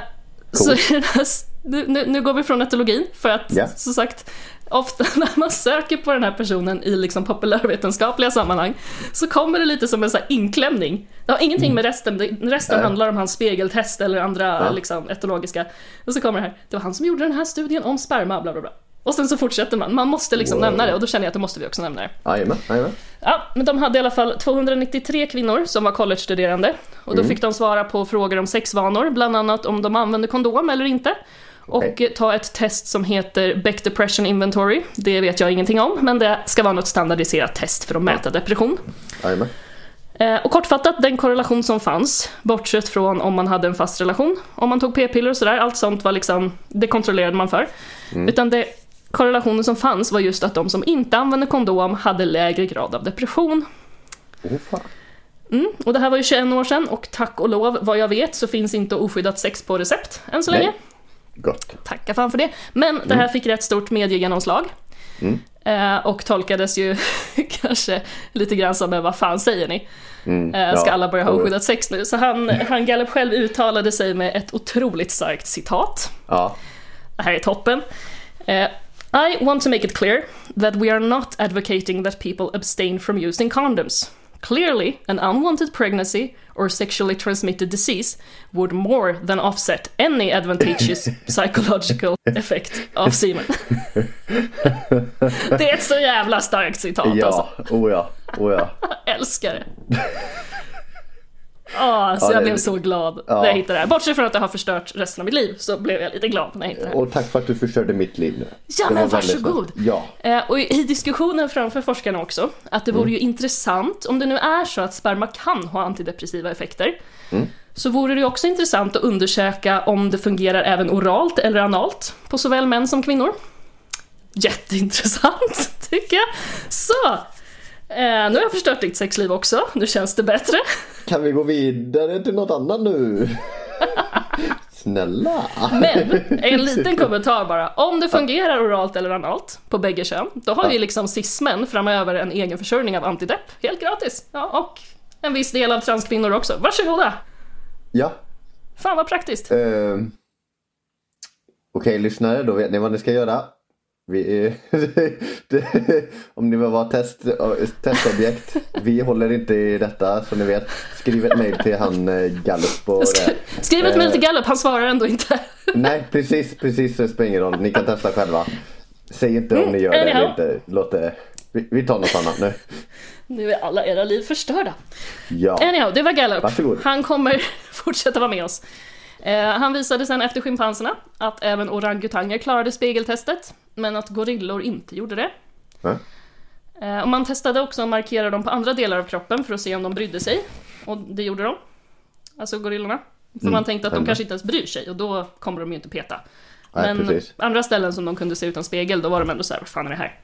S1: så
S2: Coolt.
S1: i den här, s- nu, nu- nu går vi från etologin för att
S2: Ja.
S1: som sagt ofta när man söker på den här personen i liksom populärvetenskapliga sammanhang så kommer det lite som en så här inklämning. Det har ingenting med resten, det- resten
S2: Mm. Nej.
S1: handlar om hans spegeltest eller andra
S2: Ja.
S1: liksom, etologiska. Och så kommer det här, det var han som gjorde den här studien om sperma, bla bla bla. Och sen så fortsätter man, man måste liksom
S2: Wow.
S1: nämna det och då känner jag att det måste vi också nämna det.
S2: Jajamän, jajamän.
S1: Ja, men de hade i alla fall 293 kvinnor som var collegestuderande. Och då fick de svara på frågor om sexvanor, bland annat om de använde kondom eller inte. Och
S2: Okej.
S1: eh, ta ett test som heter Beck Depression Inventory. Det vet jag ingenting om, men det ska vara något standardiserat test för att mäta depression.
S2: Jajamän.
S1: Eh, Och kortfattat, den korrelation som fanns, bortsett från om man hade en fast relation, om man tog p-piller och sådär, allt sånt var liksom, det kontrollerade man för. Utan det, korrelationen som fanns var just att de som inte använde kondom hade lägre grad av depression.
S2: Åh fan.
S1: Mm, och det här var ju 21 år sedan och tack och lov, vad jag vet, så finns inte oskyddat sex på recept än så
S2: Nej. Mm.
S1: länge.
S2: Gott.
S1: Tacka fan för det. Men det här fick rätt stort mediegenomslag.
S2: Mm.
S1: Eh, och tolkades ju kanske lite grann som en, vad fan säger ni? Eh, ska
S2: Mm, ja.
S1: alla börja ha
S2: Ja, ja.
S1: oskyddat sex nu? Så han, han Gallup själv uttalade sig med ett otroligt starkt citat.
S2: Ja.
S1: Det här är toppen. Eh, I want to make it clear that we are not advocating that people abstain from using condoms. Clearly, an unwanted pregnancy or sexually transmitted disease would more than offset any advantageous psychological effect av semen. det är ett så jävla starkt citat alltså.
S2: Ja. Oh ja. Oh ja.
S1: Jag älskar det. Ah, så
S2: Ja,
S1: jag
S2: det-
S1: blev så glad när jag hittade det här. Bortsett från att det har förstört resten av mitt liv så blev jag lite glad när jag hittade det. här.
S2: Och tack för att du förstörde mitt liv nu.
S1: Ja,
S2: Det
S1: men
S2: var väldigt
S1: varsågod.
S2: snällt. Ja.
S1: Eh, Och i i diskussionen framför forskarna också, att det vore ju intressant, om det nu är så att sperma kan ha antidepressiva effekter, så vore det ju också intressant att undersöka om det fungerar även oralt eller analt på såväl män som kvinnor. Jätteintressant, tycker jag. Så, eh, nu har jag förstört ditt sexliv också, nu känns det bättre.
S2: Kan vi gå vidare till något annat nu? Snälla.
S1: Men en liten kommentar bara. Om det fungerar oralt eller analt på bägge kön, då har ju liksom cis-män framöver en egen försörjning av antidepp. Helt gratis. Ja, och en viss del av transkvinnor också. Varsågoda!
S2: Ja.
S1: Fan vad praktiskt.
S2: Eh, Okej lyssnare, då vet ni vad ni ska göra. Vi är, det, om ni vill vara test, testobjekt. Vi håller inte i detta som ni vet. Skriv ett mejl till han eh, Gallup. Och det.
S1: Sk- Skriv ett mejl till Gallup, han svarar ändå inte.
S2: Nej precis, precis det spelar ingen roll. Ni kan testa själva. Säg inte om ni gör det eller
S1: anyhow.
S2: inte. Låt det. Vi, vi tar något annat nu.
S1: Nu är alla era liv förstörda.
S2: Ja.
S1: Anyhow, det var Gallup.
S2: Varsågod.
S1: Han kommer fortsätta vara med oss. Eh, han visade sen efter schimpanserna att även orangutanger klarade spegeltestet, men att gorillor inte gjorde det.
S2: Va?
S1: Eh, och man testade också att markera dem på andra delar av kroppen för att se om de brydde sig. Och det gjorde de. Alltså gorillorna. För man tänkte att de
S2: ändå.
S1: kanske inte ens bryr sig och då kommer de ju inte peta.
S2: Nej,
S1: Men
S2: precis.
S1: andra ställen som de kunde se utan spegel, då var de ändå så här, vad fan är det här?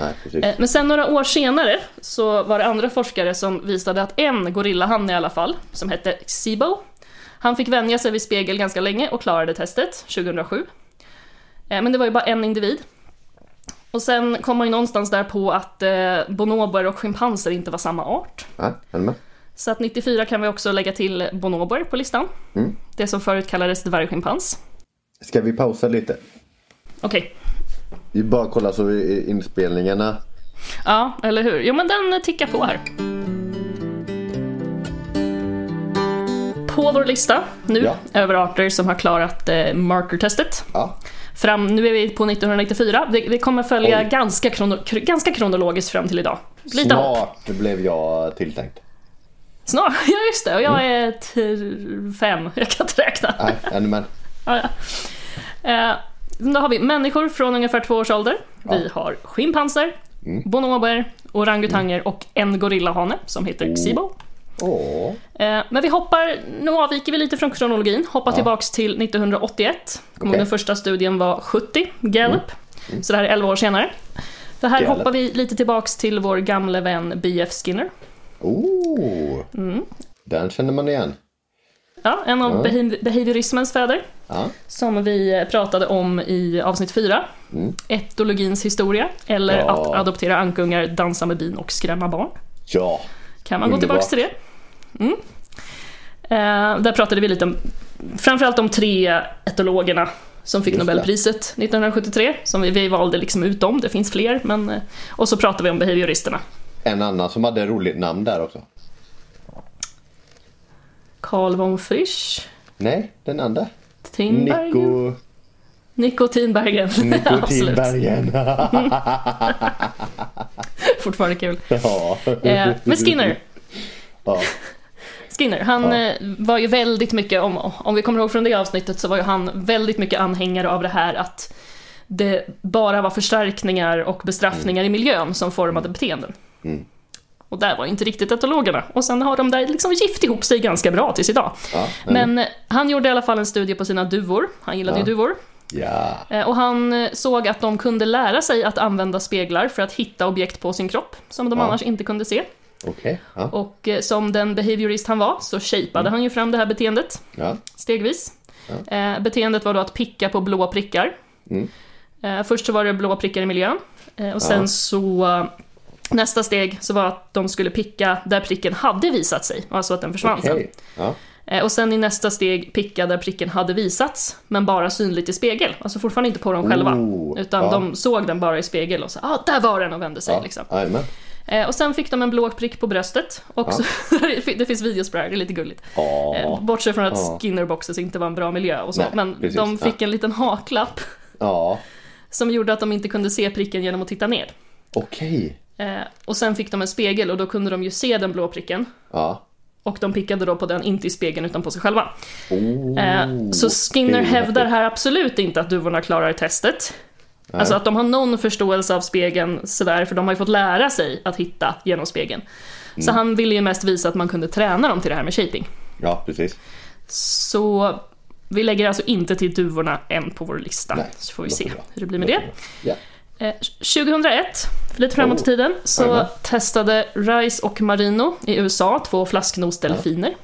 S2: Nej, precis.
S1: Eh, Men sen några år senare så var det andra forskare som visade att en gorillahanne i alla fall, som hette Sibo, han fick vänja sig vid spegel ganska länge och klarade testet 2007. Eh, Men det var ju bara en individ. Och sen kom man ju någonstans där på att eh, bonoboer och schimpanser inte var samma art.
S2: Ja, är ni med?
S1: Så att 94 kan vi också lägga till bonoboer på listan. Det som förut kallades dvärgschimpans.
S2: Ska vi pausa lite?
S1: Okej,
S2: Vi bara kolla så vi- inspelningarna
S1: ja, eller hur? Jo, men den tickar på här. På vår lista nu,
S2: Ja.
S1: över arter som har klarat eh, marker-testet.
S2: Ja.
S1: Fram, nu är vi på 1994. Det, det kommer följa
S2: Oj.
S1: ganska, krono, kr, ganska kronologiskt fram till idag. Lite hopp.
S2: Snart blev jag tilltänkt.
S1: Snart. Ja, just det. Och jag är t- fem. Jag kan inte räkna.
S2: Nej, ännu men.
S1: Ja, ja. Eh, då har vi människor från ungefär två års ålder. Vi har schimpanser,
S2: Mm.
S1: bonober, orangutanger och en gorillahane som
S2: Oh.
S1: heter Xibo.
S2: Åh.
S1: Eh, men vi hoppar, nu avviker vi lite från kronologin, hoppar tillbaks till 1981. Kommer ihåg
S2: Okej. Mm.
S1: Den första studien var 70, Gallup. Så det här är 11 år senare. Så här
S2: Gallup.
S1: hoppar vi lite tillbaks till vår gamle vän B.F. Skinner.
S2: Oh. Den känner man igen.
S1: Ja, en av behav- behaviorismens fäder.
S2: Ja.
S1: Som vi eh, pratade om i avsnitt 4. Etologins historia. Eller
S2: Mm. Ja.
S1: att adoptera ankungar, dansa med bin och skrämma barn.
S2: ja.
S1: Kan man gå
S2: Underbart.
S1: tillbaka till det? Mm. Eh, där pratade vi lite om, framförallt om tre etologerna som fick
S2: Just det.
S1: Nobelpriset 1973. Som vi, vi valde liksom ut dem, det finns fler. Men, eh, och så pratade vi om behavioristerna.
S2: En annan som hade roligt namn där också.
S1: Carl von Frisch,
S2: Nej, den andra.
S1: Tinbergen, Nico,
S2: Nico...
S1: Tinbergen.
S2: Nico
S1: Absolut,
S2: Tinbergen.
S1: fortfarande kul.
S2: ja.
S1: Eh, men Skinner.
S2: Ja.
S1: Skinner, han eh, var ju väldigt mycket, om, om vi kommer ihåg från det avsnittet, så var ju han väldigt mycket anhängare av det här att det bara var förstärkningar och bestraffningar
S2: Mm.
S1: i miljön som formade beteenden. Och där var inte riktigt etologerna. Och sen har de där liksom gift ihop sig ganska bra tills idag.
S2: Ja.
S1: Men eh, han gjorde i alla fall en studie på sina duvor, han gillade ju
S2: Mm. Ja.
S1: duvor.
S2: ja.
S1: Eh, Och han eh, såg att de kunde lära sig att använda speglar för att hitta objekt på sin kropp, som de
S2: Ja.
S1: annars inte kunde se.
S2: Okej. Ja.
S1: Och eh, som den behaviorist han var så shapeade
S2: Mm.
S1: han ju fram det här beteendet
S2: ja.
S1: stegvis. Eh, beteendet var då att picka på blåa prickar.
S2: Mm.
S1: Eh, först så var det blåa prickar i miljön eh, och sen så eh, nästa steg så var att de skulle picka där pricken hade visat sig, alltså att den försvann sen.
S2: Okej. Ja.
S1: Eh, och sen i nästa steg picka där pricken hade visats, men bara synligt i spegel. Alltså fortfarande inte på dem själva,
S2: Oh,
S1: utan
S2: ja.
S1: de såg den bara i spegel och sa ah, där var den och vände sig.
S2: Ja.
S1: Liksom.
S2: Jajamän.
S1: Eh, och sen fick de en blå prick på bröstet. Och så, det finns videos på det här, det är lite gulligt.
S2: Ja.
S1: Eh, bortsett från att
S2: Ja.
S1: skinnerboxes inte var en bra miljö och så.
S2: Nej,
S1: men
S2: precis.
S1: de fick en liten haklapp
S2: Ja.
S1: som gjorde att de inte kunde se pricken genom att titta ner.
S2: Okej.
S1: Eh, och sen fick de en spegel och då kunde de ju se den blå pricken.
S2: Ja.
S1: Och de pickade då på den, inte i spegeln utan på sig själva.
S2: Oh.
S1: Eh, så Skinner
S2: det är
S1: hävdar
S2: häftigt.
S1: här absolut inte att duvorna klarar testet. Alltså att de har någon förståelse av spegeln sådär, för de har ju fått lära sig att hitta genom spegeln.
S2: Mm.
S1: Så han ville ju mest visa att man kunde träna dem till det här med shaping.
S2: Ja, precis.
S1: Så vi lägger alltså inte till duvorna än på vår lista,
S2: Nej,
S1: så får vi
S2: låter
S1: se
S2: bra.
S1: hur det blir med det.
S2: Ja.
S1: Eh, 2001, för lite framåt i
S2: Oh,
S1: tiden, så
S2: jajamän.
S1: testade Rice och Marino i USA två flasknosdelfiner.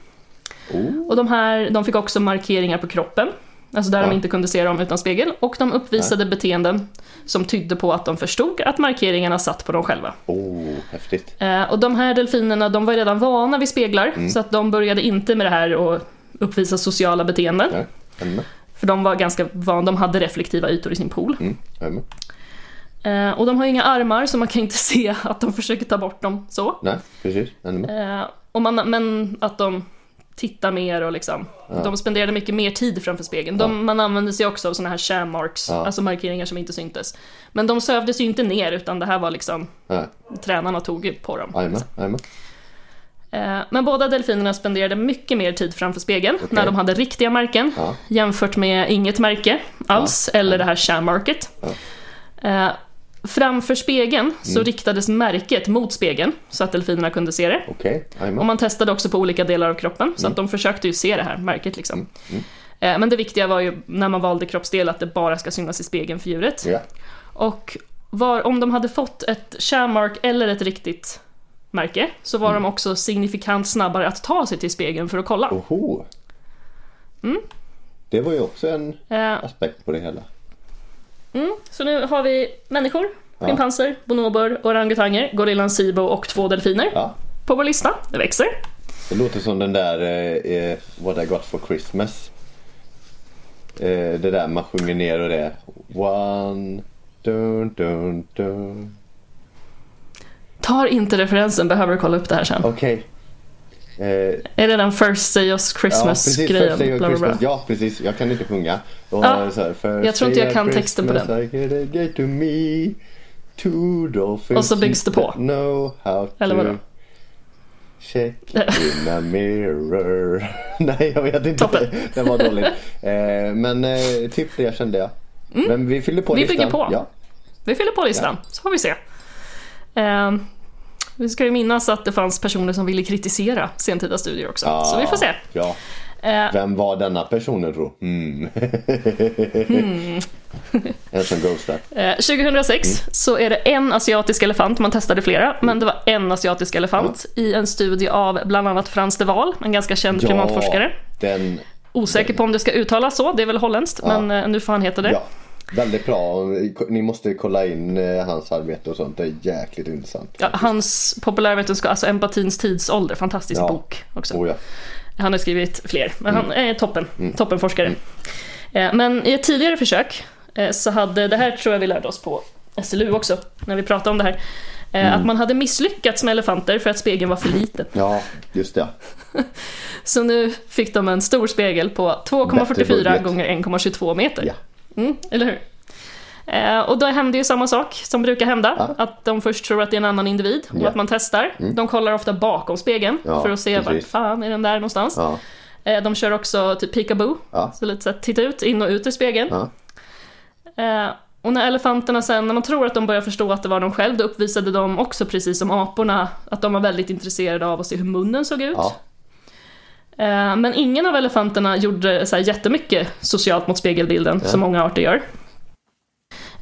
S2: Oh.
S1: Och de här, de fick också markeringar på kroppen, alltså där
S2: Ja.
S1: de inte kunde se dem utan spegel, och de uppvisade beteenden som tydde på att de förstod att markeringarna satt på dem själva.
S2: Oh, häftigt. Mm.
S1: Eh, och de här delfinerna, de var ju redan vana vid speglar, så att de började inte med det här och uppvisa sociala beteenden.
S2: Nej, jag är med.
S1: För de var ganska van, de hade reflektiva ytor i sin pool.
S2: Mm, jag är med.
S1: Eh, och de har inga armar så man kan inte se att de försöker ta bort dem så.
S2: Nej, precis. Jag är med.
S1: Eh, och man, men att de tittar mer och liksom, de spenderade mycket mer tid framför spegeln. De, Man använde sig också av såna här sham marks,
S2: Ja.
S1: alltså markeringar som inte syntes. Men de sövdes ju inte ner utan det här var liksom,
S2: Nej,
S1: tränarna tog ju på dem.
S2: jag är med. Jag är med.
S1: Eh, Men båda delfinerna spenderade mycket mer tid framför spegeln när de hade riktiga märken
S2: Ja.
S1: jämfört med inget märke alls eller det här sham-market. Eh, Framför spegeln
S2: Mm.
S1: så riktades märket mot spegeln så att delfinerna kunde se det.
S2: Okej, jag är
S1: Och
S2: med.
S1: man testade också på olika delar av kroppen så
S2: Mm.
S1: att de försökte ju se det här märket. Liksom. Eh, Men det viktiga var ju när man valde kroppsdel att det bara ska synas i spegeln för djuret.
S2: Ja,
S1: Och var, om de hade fått ett share-mark eller ett riktigt märke så var
S2: Mm.
S1: de också signifikant snabbare att ta sig till spegeln för att kolla.
S2: oho. Det var ju också en
S1: Eh, mm,
S2: aspekt på det hela.
S1: så nu har vi människor, schimpanser, bonobor, orangutanger, gorillan Sibo och två delfiner
S2: Ja,
S1: på vår lista. Det växer.
S2: det låter som den där eh, eh, What I got for Christmas. Eh, det där man sjunger ner och det. One, dun, dun, dun.
S1: Tar inte referensen, behöver kolla upp det här sen.
S2: Okej. Eh,
S1: Är det den First Say Us
S2: ja, precis.
S1: Christmas-grejen?
S2: First day of
S1: bla, bla, bla.
S2: Christmas. Ja, precis. Jag kan inte sjunga. Och
S1: Ja,
S2: så här, first
S1: jag tror inte
S2: day
S1: jag
S2: of
S1: kan texten på
S2: Christmas
S1: den.
S2: I get a gift to me, two dolphins
S1: Och så byggs det på.
S2: Know how
S1: Eller
S2: to
S1: vadå?
S2: Check in a mirror. Nej, jag vet inte.
S1: Toppen.
S2: Det var dåligt. Eh, men eh, typ det kände jag. Men vi fyller på
S1: Mm. Vi
S2: listan.
S1: bygger på.
S2: Ja.
S1: Vi fyller på listan, så får vi se. Ehm, vi ska ju minnas att det fanns personer som ville kritisera sentida studier också,
S2: Ja.
S1: så vi får se.
S2: Ja.
S1: Eh,
S2: Vem var denna personen tror du? Mm.
S1: Mm.
S2: en som ghostar.
S1: eh, 2006
S2: Mm.
S1: så är det en asiatisk elefant, man testade flera, men det var en asiatisk elefant i en studie av bland annat Frans de Waal, en ganska känd primatforskare.
S2: den.
S1: Osäker på om det ska uttalas så, det är väl holländskt, men eh, nu får han heta det.
S2: Ja. Väldigt bra. Ni måste kolla in eh, hans arbete och sånt. Det är jäkligt intressant.
S1: Ja, hans populärvetenskap, alltså Empatins tidsålder, fantastisk
S2: Ja.
S1: bok också.
S2: Oh, ja.
S1: Han har skrivit fler, men han
S2: Mm.
S1: är toppen, toppenforskare. Eh, Men i ett tidigare försök eh, så hade, det här tror jag vi lärde oss på SLU också, när vi pratade om det här, eh,
S2: Mm.
S1: att man hade misslyckats med elefanter för att spegeln var för liten.
S2: ja, just det.
S1: Så nu fick de en stor spegel på 2,44
S2: budget.
S1: gånger 1,22 meter.
S2: Ja.
S1: Mm, eller hur? Eh, Och då hände ju samma sak som brukar hända,
S2: Ja.
S1: att de först tror att det är en annan individ och
S2: Ja. Mm.
S1: att man testar. De kollar ofta bakom spegeln
S2: Ja,
S1: för att se vart
S2: precis.
S1: fan är den där någonstans.
S2: Ja.
S1: Eh, De kör också typ peekaboo,
S2: Ja.
S1: så lite så här, titta ut, in och ut i spegeln.
S2: Ja.
S1: Eh, Och när elefanterna sen, när man tror att de börjar förstå att det var de själv, då uppvisade de också precis som aporna att de var väldigt intresserade av att se hur munnen såg ut.
S2: Ja.
S1: Eh, Men ingen av elefanterna gjorde så här jättemycket socialt mot spegelbilden, som många arter gör.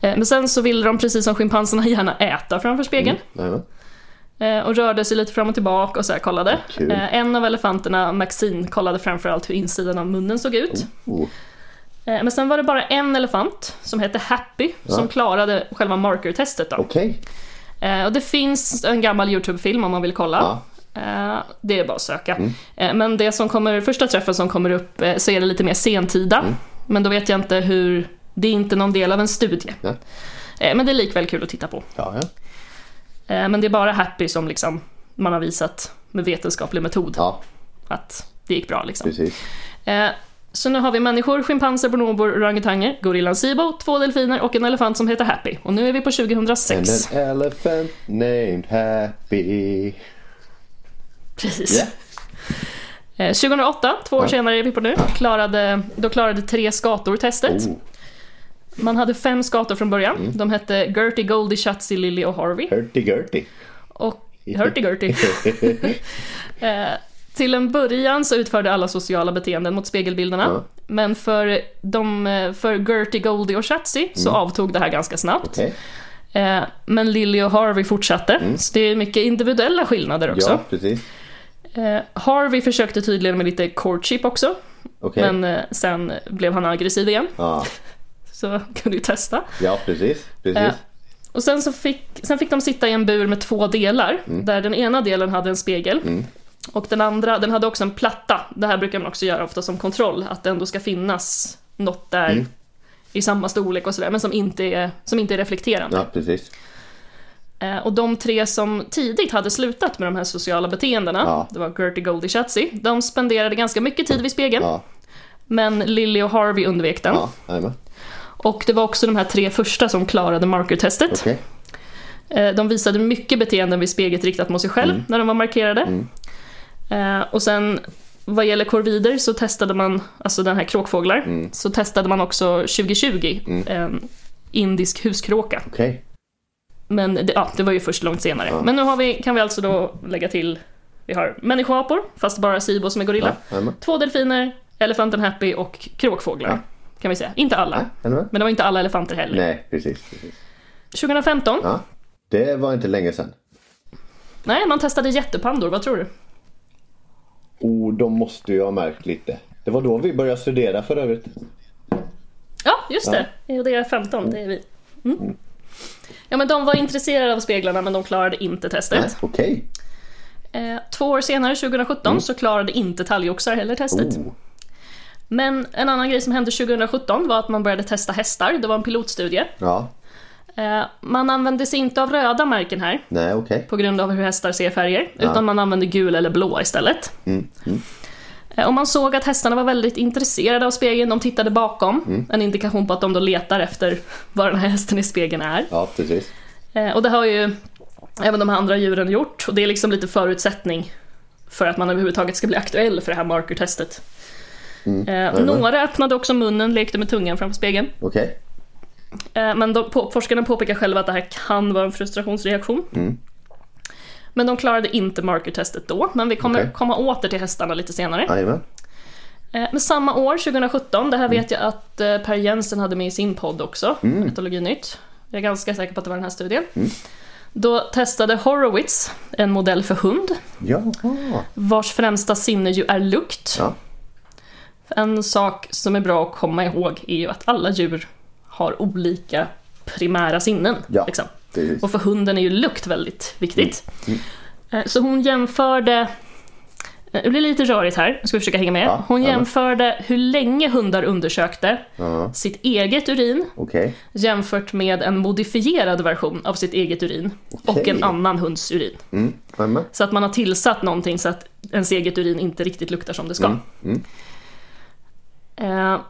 S1: Eh, Men sen så ville de, precis som schimpanserna, gärna äta framför spegeln.
S2: Nej, men.
S1: Eh, Och rörde sig lite fram och tillbaka och så här kollade.
S2: Mm. Kul.
S1: Eh, En av elefanterna, Maxine, kollade framförallt hur insidan av munnen såg ut.
S2: Oh.
S1: Eh, Men sen var det bara en elefant som hette Happy som klarade själva marker-testet. Då.
S2: Okej.
S1: Eh, Och det finns en gammal YouTube-film om man vill kolla. Eh, Det är bara att söka. Eh, Men det som kommer, första träffen som kommer upp eh, så är det lite mer sentida. Men då vet jag inte hur, det är inte någon del av en studie.
S2: Nej.
S1: Eh, Men det är likväl kul att titta på.
S2: Ja, ja.
S1: Eh, Men det är bara Happy som liksom man har visat med vetenskaplig metod
S2: ja,
S1: att det gick bra. Liksom.
S2: precis.
S1: Eh, Så nu har vi människor, schimpanser, bonobor, orangutanger, gorillan Sibo, två delfiner och en elefant som heter Happy. Och nu är vi på
S2: And
S1: 2006.
S2: an elephant named Happy.
S1: Precis.
S2: Ja.
S1: Eh, 2008, två år
S2: Ja.
S1: senare är vi på nu, klarade, då klarade tre skator testet.
S2: Oh, Mm.
S1: Man hade fem skator från början. De hette Gertie, Goldie, Chatsy, Lily och Harvey.
S2: hurty gurty.
S1: Och Hurty Gertie. Eh, Till en början så utförde alla sociala beteenden mot spegelbilderna.
S2: Ja.
S1: Men för, de, eh, för Gertie, Goldie och Chatsy så avtog det här ganska snabbt.
S2: Mm. Okej.
S1: Eh, Men Lily och Harvey fortsatte,
S2: Mm.
S1: så det är mycket individuella skillnader också.
S2: Ja, precis.
S1: Eh, Harvey försökte tydligen med lite courtship också,
S2: Okej.
S1: men eh, sen blev han aggressiv igen,
S2: Ja.
S1: så kunde ju testa.
S2: ja, precis. precis.
S1: Eh, Och
S2: Mm.
S1: sen, så fick, sen fick de sitta i en bur med två delar, där den ena delen hade en spegel Och den andra, den hade också en platta. Det här brukar man också göra ofta som kontroll, att det ändå ska finnas något där
S2: Mm.
S1: i samma storlek och sådär, men som inte är, som inte är reflekterande.
S2: Ja, precis.
S1: Eh, Och de tre som tidigt hade slutat med de här sociala beteendena,
S2: Ja.
S1: det var Gertie, Goldie, Chatsey, de spenderade ganska mycket tid vid spegeln,
S2: Ja,
S1: men Lily och Harvey undvek den.
S2: ja, jajamän.
S1: Och det var också de här tre första som klarade markertestet.
S2: Okej.
S1: Eh, De visade mycket beteenden vid speget riktat mot sig själv
S2: Mm.
S1: när de var markerade. Eh, Och sen vad gäller korvider så testade man, alltså den här kråkfåglar,
S2: Mm.
S1: så testade man också 2020 en indisk huskråka.
S2: Okej.
S1: Men det, ja, det var ju först långt senare. Men nu har vi, kan vi alltså då lägga till, vi har människoapor, fast bara Sibo som är gorilla.
S2: Ja, jajamän.
S1: Två delfiner, elefanten Happy och kråkfåglar. Kan vi säga. Inte alla.
S2: Ja, jajamän.
S1: Men det var inte alla elefanter heller.
S2: Nej, precis. precis.
S1: 2015,
S2: Ja. Det var inte länge sedan.
S1: nej man testade jättepandor, vad tror du?
S2: Oh, de måste ju ha märkt lite. Det var då vi började studera för övrigt.
S1: Ja, just det. Jo, Det är 15, det är vi. Mm. Ja, men de var intresserade av speglarna men de klarade inte
S2: Nej,
S1: testet.
S2: Okej.
S1: Eh, två år senare, 2017, så klarade inte talgoxar heller testet.
S2: Mm. Oh.
S1: Men en annan grej som hände 2017 var att man började testa hästar. Det var en pilotstudie.
S2: Ja.
S1: Eh, man använde sig inte av röda märken här
S2: Nej, okej.
S1: på grund av hur hästar ser färger, utan man använde gul eller blå istället. Eh, Och man såg att hästarna var väldigt intresserade av spegeln, de tittade bakom, en indikation på att de då letar efter vad den här hästen i spegeln är.
S2: Ja, precis.
S1: Eh, Och det har ju även de här andra djuren gjort, och det är liksom lite förutsättning för att man överhuvudtaget ska bli aktuell för det här markertestet. Eh, några öppnade också munnen, lekte med tungan framför spegeln.
S2: Okej.
S1: Eh, Men de, på, forskarna påpekar själva att det här kan vara en frustrationsreaktion. Men de klarade inte markertestet då, men vi kommer
S2: Okej.
S1: komma åter till hästarna lite senare.
S2: Jajamän.
S1: Eh, Men samma år, 2017, det här
S2: Mm.
S1: vet jag att eh, Per Jensen hade med i sin podd också, Etologinytt. Jag är ganska säker på att det var den här studien.
S2: Mm.
S1: Då testade Horowitz en modell för hund,
S2: Jaha.
S1: vars främsta sinne ju är lukt.
S2: Ja.
S1: En sak som är bra att komma ihåg är ju att alla djur har olika primära sinnen.
S2: Ja.
S1: Liksom.
S2: Precis.
S1: Och för hunden är ju lukt väldigt viktigt.
S2: Mm.
S1: Eh, Så hon jämförde, eh, det blir lite rörigt här, jag ska försöka hänga med.
S2: Ja,
S1: Hon
S2: ja, men-
S1: jämförde hur länge hundar undersökte
S2: Ja.
S1: sitt eget urin
S2: Okej.
S1: jämfört med en modifierad version av sitt eget urin och
S2: Okej.
S1: en annan hunds urin.
S2: Mm. Jajamän.
S1: Så att man har tillsatt någonting så att ens eget urin inte riktigt luktar som det ska.
S2: Mm,
S1: Eh,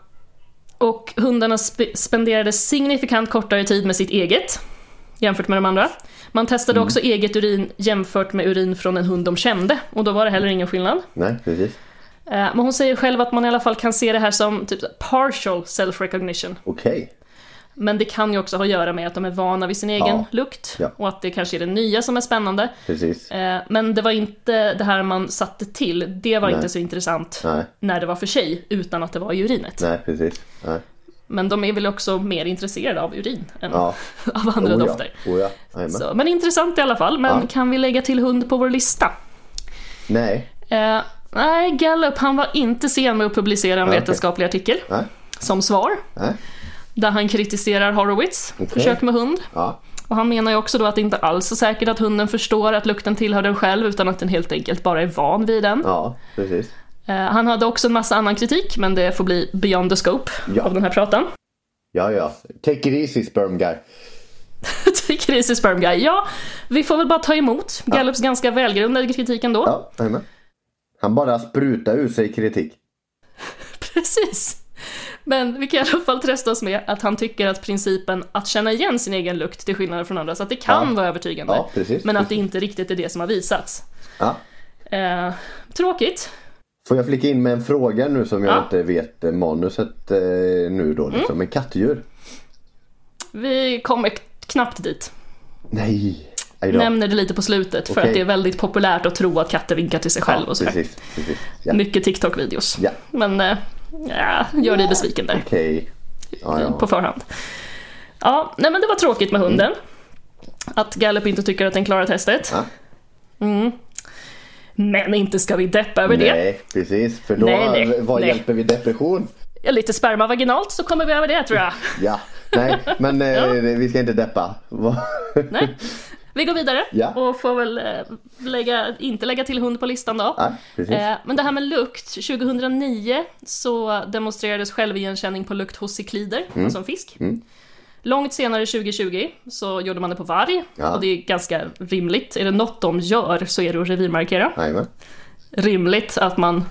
S1: och hundarna sp- spenderade signifikant kortare tid med sitt eget jämfört med de andra. Man testade
S2: Mm.
S1: också eget urin jämfört med urin från en hund de kände och då var det heller ingen skillnad.
S2: Nej, precis.
S1: Eh, men hon säger själv att man i alla fall kan se det här som typ partial self-recognition.
S2: Okej.
S1: Men det kan ju också ha att göra med att de är vana vid sin egen
S2: Ja.
S1: lukt
S2: Ja.
S1: och att det kanske är det nya som är spännande.
S2: Precis.
S1: Eh, Men det var inte det här man satte till, det var
S2: Nej.
S1: inte så intressant
S2: Nej.
S1: när det var för sig, utan att det var i urinet.
S2: Nej, precis. Nej.
S1: Men de är väl också mer intresserade av urin än
S2: Ja.
S1: av andra
S2: Oh, ja.
S1: dofter.
S2: Oh, ja. Jajamän.
S1: Så, men intressant i alla fall, men
S2: Ja.
S1: kan vi lägga till hund på vår lista?
S2: Nej.
S1: Eh, nej, Gallup han var inte sen med att publicera en
S2: okej.
S1: vetenskaplig artikel
S2: Nej.
S1: som svar,
S2: Nej.
S1: där han kritiserar Horowitz försök med hund.
S2: Ja.
S1: Och han menar ju också då att det inte alls är säkert att hunden förstår att lukten tillhör den själv, utan att den helt enkelt bara är van vid den.
S2: Ja, precis.
S1: Eh, Han hade också en massa annan kritik, men det får bli beyond the scope
S2: Ja.
S1: av den här pratan.
S2: Ja, ja. Take it easy, sperm guy.
S1: Kris i Sperm Guy. Ja, vi får väl bara ta emot Gallups ganska välgrundade kritik ändå.
S2: Ja, jajamän. Han bara sprutar ur sig kritik.
S1: Precis. Men vi kan i alla fall trösta oss med att han tycker att principen att känna igen sin egen lukt till skillnad från andras, att det kan
S2: Ja.
S1: vara övertygande.
S2: Ja, precis,
S1: men att det
S2: precis.
S1: inte riktigt är det som har visats.
S2: Ja.
S1: Eh, tråkigt.
S2: Får jag flika in med en fråga nu som jag
S1: Ja. Mm.
S2: inte vet eh, manuset eh, nu då liksom. Men kattdjur?
S1: Vi kommer k- knappt dit.
S2: Nej. Aj då.
S1: Nämner det lite på slutet för
S2: Okej.
S1: att det är väldigt populärt att tro att katter vinkar till sig själv och sådär.
S2: Precis, precis. Ja.
S1: Mycket TikTok-videos.
S2: Ja.
S1: Men eh, ja, gör dig besviken där.
S2: Okej. Ja, ja.
S1: på förhand. Ja, nej men det var tråkigt med hunden. Att Gallup inte tycker att den klarar testet.
S2: Mm. Ja.
S1: Mm. Men inte ska vi deppa över det.
S2: Nej, precis. För då,
S1: Nej, nej,
S2: vad
S1: nej.
S2: hjälper vi depression?
S1: Ja, Lite sperma vaginalt så kommer vi
S2: Mm.
S1: över det tror jag.
S2: Ja, nej, men eh, vi ska inte deppa. Va?
S1: Nej. Vi går vidare
S2: Ja.
S1: och får väl eh, lägga, inte lägga till hund på listan då.
S2: Nej, precis.
S1: Eh, Men det här med lukt, 2009 så demonstrerades självigenkänning på lukt hos ciklider,
S2: Mm.
S1: alltså en fisk. Långt senare, 2020, så gjorde man det på varg
S2: Ja.
S1: och det är ganska rimligt. Är det något de gör så är det att revirmarkera.
S2: Jajamän.
S1: Rimligt att man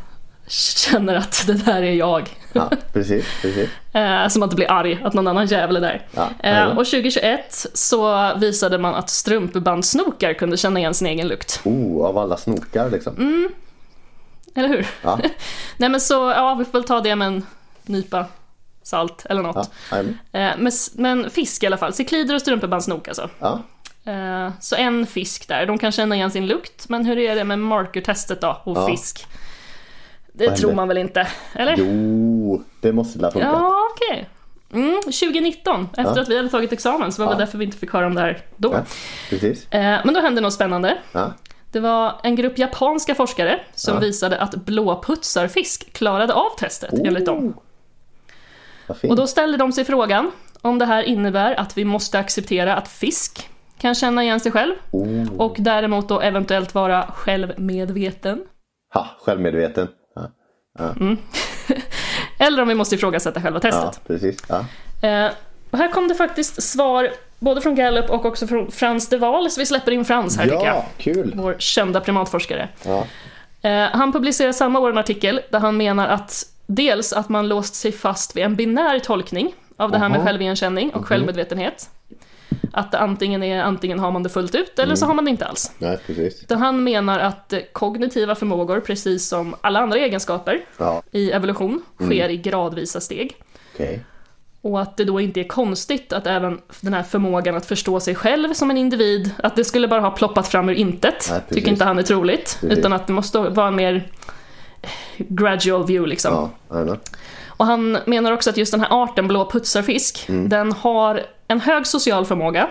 S1: känner att det där är jag.
S2: Ja, precis, precis.
S1: Eh, så man inte blir arg att någon annan jävel är där.
S2: Ja,
S1: eh,
S2: jajamän.
S1: och 2021 så visade man att strumpbandsnokar kunde känna igen sin egen lukt.
S2: Oh, av alla snokar liksom.
S1: Mm. Eller hur?
S2: Ja,
S1: Nej men så, ja vi får väl ta det med en nypa salt eller något.
S2: ja, jajamän.
S1: Eh, men, s- men fisk i alla fall, ciklider och strumpebandssnok alltså.
S2: ja.
S1: Eh, så en fisk där, de kan känna igen sin lukt. Men hur är det med markertestet då, och
S2: Ja.
S1: fisk? Det
S2: Vad
S1: tror
S2: händer?
S1: man väl inte? Eller?
S2: Jo, det måste väl funka.
S1: Ja, okej. Mm, 2019, efter
S2: Ja.
S1: att vi hade tagit examen, så var det
S2: Ja.
S1: därför vi inte fick höra om det här då.
S2: Ja, precis.
S1: Eh, men då hände något spännande.
S2: Ja.
S1: Det var en grupp japanska forskare som
S2: Ja.
S1: visade att blåputsarfisk klarade av testet, enligt dem.
S2: Oh. Vad fint.
S1: Och då ställer de sig frågan om det här innebär att vi måste acceptera att fisk kan känna igen sig själv
S2: oh.
S1: och däremot då eventuellt vara självmedveten.
S2: Ha, självmedveten. Ja,
S1: Eller om vi måste ifrågasätta själva
S2: ja
S1: testet.
S2: precis. Ja.
S1: Eh, och här kom det faktiskt svar både från Gallup och också från Frans de Waal, så vi släpper in Frans här tycker jag.
S2: ja, kul.
S1: Vår kända primatforskare.
S2: Ja.
S1: Eh, han publicerar samma år en artikel där han menar att dels att man låst sig fast vid en binär tolkning av det här med
S2: Aha.
S1: självigenkänning och självmedvetenhet. Att det antingen, är, antingen har man det fullt ut eller så har man det inte alls.
S2: Nej, precis.
S1: Utan han menar att eh, kognitiva förmågor, precis som alla andra egenskaper
S2: Ja,
S1: i evolution, sker i gradvisa steg.
S2: okej.
S1: Och att det då inte är konstigt att även den här förmågan att förstå sig själv som en individ, att det skulle bara ha ploppat fram ur intet,
S2: Nej, precis.
S1: tycker inte han är troligt.
S2: Precis.
S1: Utan att det måste vara en mer gradual view liksom.
S2: Ja, jajamän.
S1: Och han menar också att just den här arten blå putsarfisk,
S2: Mm.
S1: den har en hög social förmåga.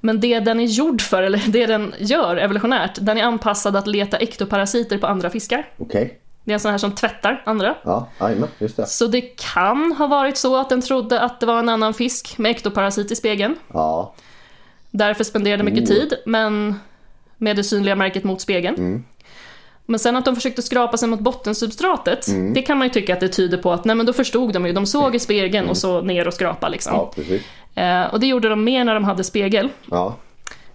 S1: Men det den är gjord för, eller det den gör evolutionärt, den är anpassad att leta ektoparasiter på andra fiskar.
S2: Okej.
S1: Det är en sån här som tvättar andra.
S2: Ja, jajamän. Just det.
S1: Så det kan ha varit så att den trodde att det var en annan fisk med ektoparasit i spegeln.
S2: Ja,
S1: Därför spenderade mycket
S2: Oh.
S1: tid, men med det synliga märket mot spegeln.
S2: Mm.
S1: Men sen att de försökte skrapa sig mot bottensubstratet,
S2: Mm.
S1: det kan man ju tycka att det tyder på att nej men då förstod de ju, de såg i spegeln och så ner och skrapa liksom.
S2: Mm. ja precis.
S1: Eh, och det gjorde de mer när de hade spegel
S2: Ja,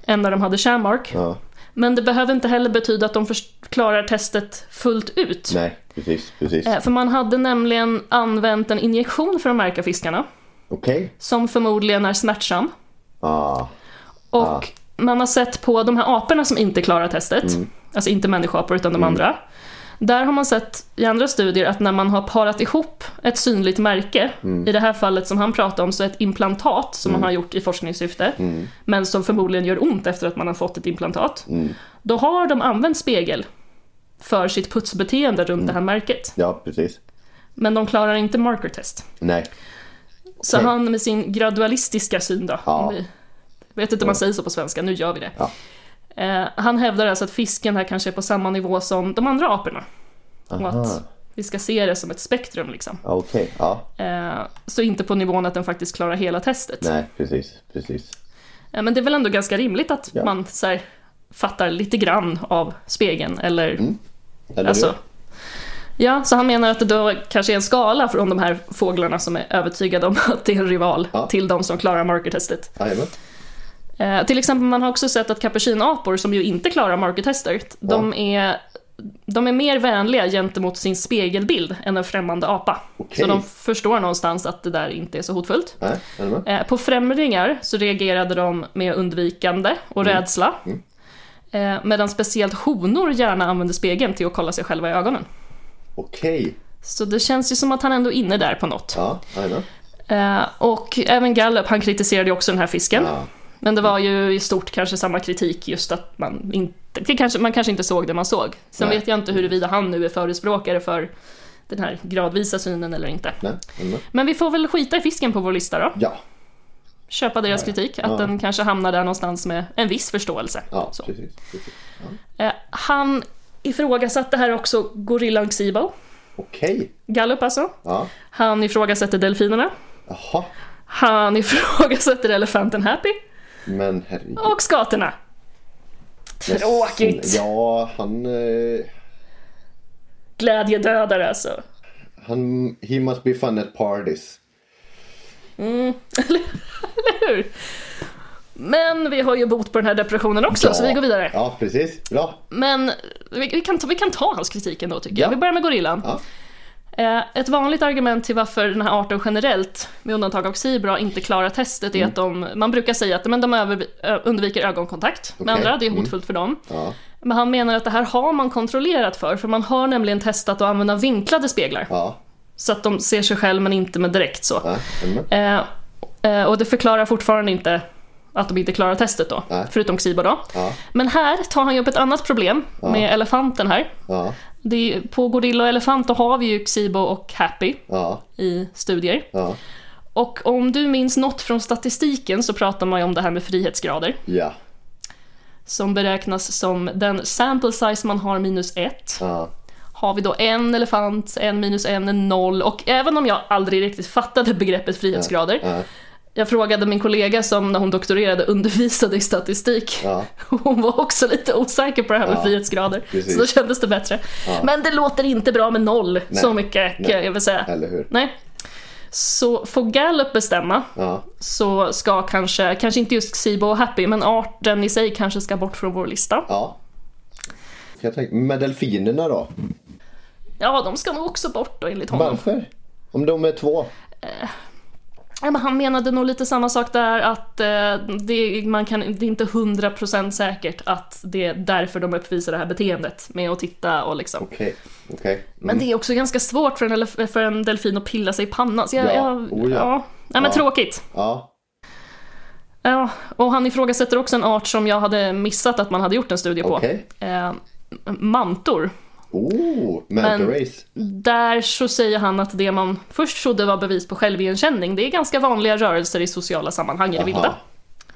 S1: än när de hade kärnmark.
S2: ja.
S1: Men det behöver inte heller betyda att de först- klarar testet fullt ut.
S2: Nej, precis, precis.
S1: Eh, För man hade nämligen använt en injektion för att märka fiskarna,
S2: Okej.
S1: som förmodligen är smärtsam.
S2: Ja,
S1: Och man har sett på de här aporna som inte klarar testet, alltså inte människoapor utan de andra. Där har man sett i andra studier att när man har parat ihop ett synligt märke, i det här fallet som han pratade om, så ett implantat som man har gjort i forskningssyfte, men som förmodligen gör ont efter att man har fått ett implantat, då har de använt spegel för sitt putsbeteende runt det här märket.
S2: ja, precis.
S1: Men de klarar inte marker test.
S2: Nej.
S1: Så
S2: Okej.
S1: han med sin gradualistiska syn då.
S2: Ja.
S1: om vi- Jag vet inte om man säger så på svenska, nu gör vi det.
S2: Ja.
S1: Eh, han hävdar alltså att fisken här kanske är på samma nivå som de andra aporna. Och
S2: Aha.
S1: att vi ska se det som ett spektrum liksom.
S2: Ja, Okej, ja.
S1: Eh, så inte på nivån att den faktiskt klarar hela testet.
S2: Nej, precis, precis.
S1: Eh, men det är väl ändå ganska rimligt att
S2: Ja.
S1: man så här, fattar lite grann av spegeln eller
S2: Mm, Eller
S1: Alltså, ja, så han menar att det då kanske är en skala från de här fåglarna som är övertygade om att det är en rival
S2: Ja.
S1: till de som klarar markertestet.
S2: hur? Jajamän.
S1: Eh, till exempel, man har också sett att kapucinapor, som ju inte klarar markertester, de, är, de är mer vänliga gentemot sin spegelbild än en främmande apa.
S2: Okej.
S1: Så de förstår någonstans att det där inte är så hotfullt.
S2: Nej, jajamän.
S1: Eh, på främlingar så reagerade de med undvikande och
S2: Mm.
S1: rädsla. Eh, medan speciellt honor gärna använder spegeln till att kolla sig själva i ögonen.
S2: Okej.
S1: Så det känns ju som att han ändå är inne där på något.
S2: Ja, jajamän.
S1: Eh, och även Gallup, han kritiserade ju också den här fisken.
S2: Ja.
S1: Men det var ju i stort kanske samma kritik just att man inte, det kanske, man kanske inte såg det man såg. Sen
S2: Nej.
S1: vet jag inte huruvida han nu är förespråkare för den här gradvisa synen eller inte.
S2: Nej, jajamän.
S1: Men vi får väl skita i fisken på vår lista då.
S2: Ja,
S1: Köpa deras kritik, att den kanske hamnar där någonstans med en viss förståelse.
S2: ja,
S1: Så.
S2: precis. precis. Ja.
S1: Eh, han ifrågasatte här också gorillan Xibo,
S2: Okej.
S1: Gallup alltså.
S2: Ja.
S1: Han ifrågasätter delfinerna.
S2: Jaha.
S1: Han ifrågasätter elefanten Happy.
S2: Men herregud.
S1: Och skatorna.
S2: Men
S1: Tråkigt.
S2: snälla, Ja, han... eh,
S1: Glädjedödare alltså.
S2: han he must be fun at parties.
S1: Eller hur? Men vi har ju bot på den här depressionen också, så vi går vidare.
S2: Ja, precis. Bra.
S1: Men vi, vi, kan ta, vi kan ta hans kritik ändå tycker
S2: Ja.
S1: jag. Vi börjar med gorillan.
S2: Ja.
S1: Eh, ett vanligt argument till varför den här arten generellt, med undantag av zebra, inte klarar testet
S2: Mm.
S1: är att de, man brukar säga att men de över, ö- undviker ögonkontakt med
S2: Okej. Mm.
S1: andra, det är hotfullt för dem.
S2: Ja.
S1: Men han menar att det här har man kontrollerat för, för man har nämligen testat att använda vinklade speglar.
S2: Ja.
S1: Så att de ser sig själv men inte med direkt så.
S2: ja. Mm.
S1: Eh, eh, och det förklarar fortfarande inte att de inte klarar testet då,
S2: Nej.
S1: förutom Xibo då.
S2: Ja.
S1: Men här tar han ju upp ett annat problem med elefanten här.
S2: Ja.
S1: Det är, på gorilla och elefant då har vi ju Xibo och Happy
S2: Ja.
S1: i studier.
S2: Ja.
S1: Och om du minns något från statistiken så pratar man ju om det här med frihetsgrader
S2: Ja.
S1: som beräknas som den sample size man har minus ett.
S2: Ja.
S1: Har vi då en elefant, en minus en, en noll och även om jag aldrig riktigt fattade begreppet frihetsgrader
S2: Ja.
S1: Jag frågade min kollega som när hon doktorerade undervisade i statistik.
S2: Ja.
S1: Hon var också lite osäker på det här med
S2: Ja,
S1: frihetsgrader.
S2: precis.
S1: Så då kändes det bättre. Men det låter inte bra med noll, så mycket kan
S2: Nej.
S1: jag väl säga.
S2: Eller hur?
S1: Nej. Så får Gallup bestämma
S2: Ja.
S1: så ska kanske, kanske inte just Xibo och Happy, men arten i sig kanske ska bort från vår lista.
S2: Ja. Jag tänker, med delfinerna då?
S1: Ja, de ska nog också bort då enligt honom.
S2: Varför? Om de är två?
S1: Ja, men han menade nog lite samma sak där att eh, det, man kan, det är inte 100% säkert att det är därför de uppvisar det här beteendet med att titta och liksom.
S2: Okej. Okej.
S1: Men det är också ganska svårt för en, elef- för en delfin att pilla sig i pannan. Så jag,
S2: Ja,
S1: jag,
S2: oh ja.
S1: Nej, men
S2: Ja.
S1: tråkigt.
S2: Ja.
S1: Ja, och han ifrågasätter också en art som jag hade missat att man hade gjort en studie på.
S2: Okej.
S1: Eh, mantor.
S2: Oh, Manta Race.
S1: Där så säger han att det man först trodde var bevis på självigenkänning, det är ganska vanliga rörelser i sociala sammanhang i det vilda.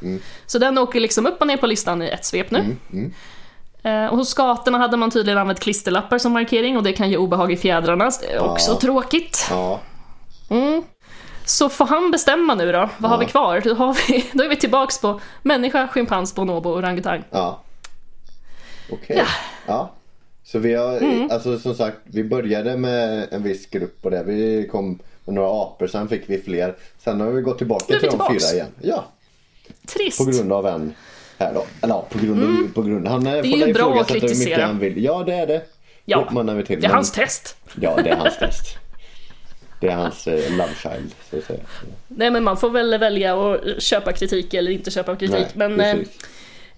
S2: Aha.
S1: Så den åker liksom upp och ner på listan i ett svep nu.
S2: Mm,
S1: Eh, och hos skatorna hade man tydligen använt klisterlappar som markering och det kan ge obehag i fjädrarna. Så det är Också
S2: Ja.
S1: tråkigt.
S2: Ja.
S1: Så får han bestämma nu då, vad har vi kvar? Då, har vi, då är vi tillbaks på människa, schimpans, bonobo och orangutang.
S2: Ja. Okej. Ja. Så vi har,
S1: Mm.
S2: alltså som sagt, vi började med en viss grupp och det. Vi kom med några apor, sen fick vi fler. Sen har vi gått tillbaka
S1: Nu är vi
S2: till de
S1: tillbaks.
S2: fyra igen. Ja,
S1: Trist.
S2: på grund av en här då. Eller ja, på grund av, på grund. Han eh, det
S1: Mm. ju bra att kritisera.
S2: han vill. Ja, det är det.
S1: Ja.
S2: Uppmanar vi till.
S1: Det är
S2: Men-
S1: hans test.
S2: Ja, det är hans test. Det är hans eh, love child, så att säga.
S1: Nej men man får väl välja att köpa kritik eller inte köpa kritik.
S2: Nej,
S1: men, eh,
S2: precis.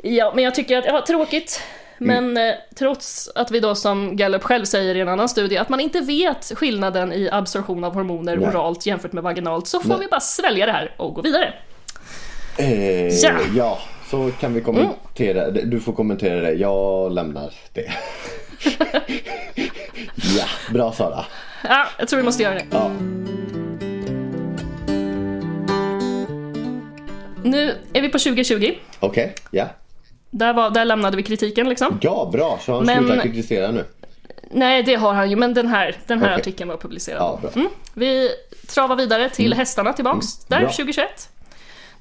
S2: Mm.
S1: Ja, men jag tycker att, ja, tråkigt. Men eh, trots att vi då som Gallup själv säger i en annan studie att man inte vet skillnaden i absorption av hormoner
S2: Nej.
S1: oralt jämfört med vaginalt så får
S2: Nej.
S1: vi bara svälja det här och gå vidare.
S2: Eh,
S1: Ja. Mm.
S2: ja, så kan vi kommentera. Du får kommentera det. Jag lämnar det. ja, bra Sara.
S1: Ja, jag tror vi måste göra det.
S2: Ja.
S1: Nu är vi på 2020.
S2: Okej, ja.
S1: Där, var, där lämnade vi kritiken liksom.
S2: Ja, bra. Så han
S1: Men-
S2: slutar kritisera nu.
S1: Nej, det har han ju, men den här, den här
S2: Okej.
S1: artikeln var publicerad. Mm.
S2: Ja, bra.
S1: Vi travar vidare till hästarna tillbaks, där
S2: Mm. Bra.
S1: 2021.